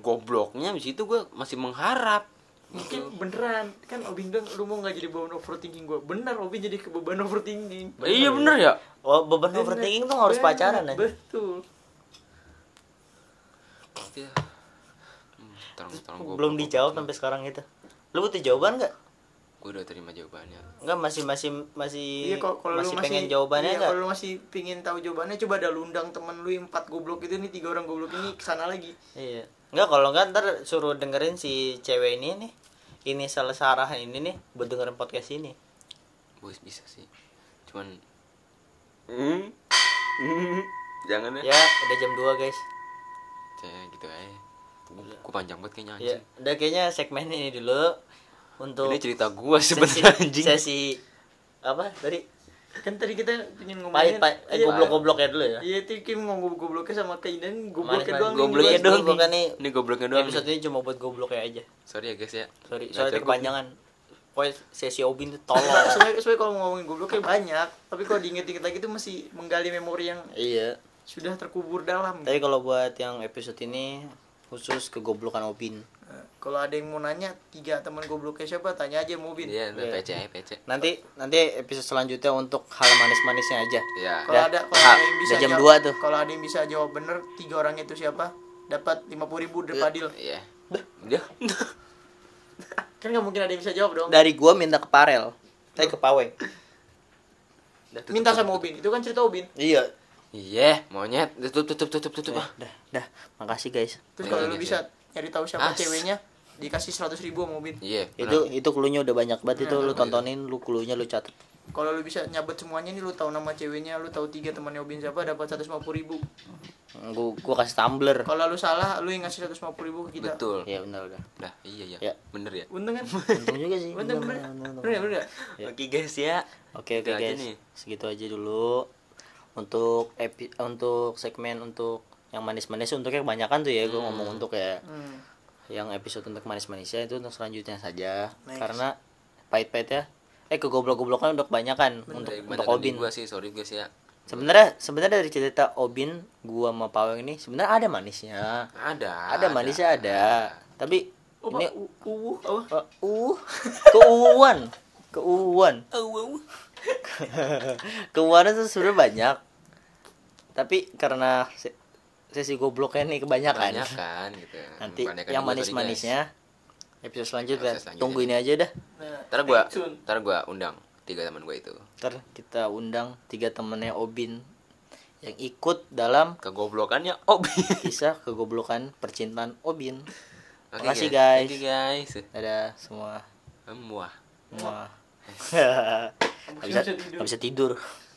gobloknya di situ gue masih mengharap
Mungkin beneran kan Obin bilang lu mau nggak jadi beban overthinking gue. Bener Obin jadi kebeban overthinking.
Bener ya?
iya bener ya
Oh, beban overthinking tuh harus
Bener,
pacaran ya. anjing.
Betul.
Iya. Hmm, tolong, tolong gua-
Belum
gua-
dijawab
gua-
sampai sekarang itu. Lu butuh jawaban nggak?
gua udah terima jawabannya
Enggak masih masih masih
Iya kok kalau
masih
lu
pengen jawabannya
iya,
enggak?
Kalau lu masih pingin tahu jawabannya coba dah lu undang temen lu yang empat goblok itu nih tiga orang goblok ini kesana lagi.
Iya. Enggak kalau enggak ntar suruh dengerin si cewek ini nih. Ini salah Sarah ini nih buat dengerin podcast ini.
gue bisa sih cuman jangan
Ya, udah jam 2 guys.
ya gitu aja
Iya.
gue panjang banget kayaknya
Ya,
anjing
udah kayaknya segmen ini dulu untuk
ini cerita gue
sesi,
sebenarnya anjing
sesi apa tadi
Kan tadi kita pingin
pahit
ngomongin
pahit eh,
iya,
goblok gobloknya dulu ya.
Iya, itu Kim ngomong gobloknya sama keindahan
Manis-manis.
gobloknya doang. nih,
Gobloknya
jelas.
doang nih.
Gobloknya nih.
ini gobloknya doang
Episode
nih.
ini cuma buat gobloknya aja.
sorry ya guys ya
Sorry,
Nggak
soalnya
cukup.
kepanjangan. Pokoknya sesi Obin tuh tolong.
Sebenarnya sebenarnya kalau ngomongin gobloknya banyak, tapi kalau diinget-inget lagi tuh masih menggali memori yang
iya.
sudah terkubur dalam.
Tapi kalau buat yang episode ini khusus kegoblokan Obin.
Nah, Kalau ada yang mau nanya tiga teman gobloknya siapa, tanya aja Mubin.
iya
Iya.
ntar PC aja PC
Nanti nanti episode selanjutnya untuk hal manis-manisnya aja.
iya
Kalau
Udah.
ada kalau ada
Ah,
yang bisa
udah jam
jawab-
dua tuh.
Kalau ada yang bisa jawab bener tiga orang itu siapa? Dapat 50.000 ribu dari Padil.
iya dia
Kan nggak mungkin ada yang bisa jawab dong.
Dari gua minta ke Parel. Tapi ke Paweng.
Minta sama Ubin. Itu kan cerita Ubin.
Iya.
iya monyet tutup tutup tutup tutup ah
Dah, dah. Makasih guys.
Terus
Iya,
kalau lu
iya,
bisa nyari tahu
As.
siapa ceweknya, dikasih 100.000 ribu sama Ubin.
iya
Itu
Nah.
itu klunya udah banyak banget itu
Iya.
lu tontonin, lu klunya lu catet.
Kalau lu bisa nyabet semuanya nih lu tahu nama ceweknya, lu tahu tiga temannya Ubin siapa dapat 150.000 ribu.
Gua gua kasih tumbler.
Kalau lu salah, lu yang ngasih 150.000 ribu ke kita.
betul
Iya benar udah.
Dah, iya
Ya.
ya. Bener ya.
Untung kan?
Untung juga sih.
Bener bener.
Bener, bener, bener.
Bener ya, bener ya?
Iya.
Oke guys ya.
Oke oke
Gitu aja
guys,
nih.
segitu aja dulu untuk epi untuk segmen untuk yang manis-manis untuknya kebanyakan tuh ya gue ngomong untuk ya
Hmm.
yang episode untuk manis-manisnya itu untuk selanjutnya saja
Nice.
karena pahit-pahit ya eh ke goblok-goblokan udah kebanyakan untuk untuk
Kebanyakan
Obin
Gua sih, sorry guys ya.
sebenarnya sebenarnya dari cerita Obin gua sama Paweng ini sebenarnya ada manisnya
Ada.
ada manisnya ada tapi
Oh,
ini
Pak, u- uwu apa?
uh, uh keuuan keuuan
Uwu.
Keuangan tuh sebenarnya banyak. Tapi karena se- sesi gobloknya nih kebanyakan.
Banyak kan gitu.
Nanti
Kebanyakan
yang
juga tadi, guys.
manis-manisnya episode selanjutnya.
Episode selanjutnya.
Tunggu ini aja dah.
Nah,
Ntar gua
stay tune.
ntar gua undang tiga teman gua itu.
Ntar kita undang tiga temennya Obin yang ikut dalam
Kegoblokannya Obin.
kisah kegoblokan percintaan Obin.
Oke,
Makasih, guys.
Thank you, guys.
Dadah semua.
Emuah.
Semua.
Abis
Gak bisa,
ini bisa tidur.
nggak bisa tidur.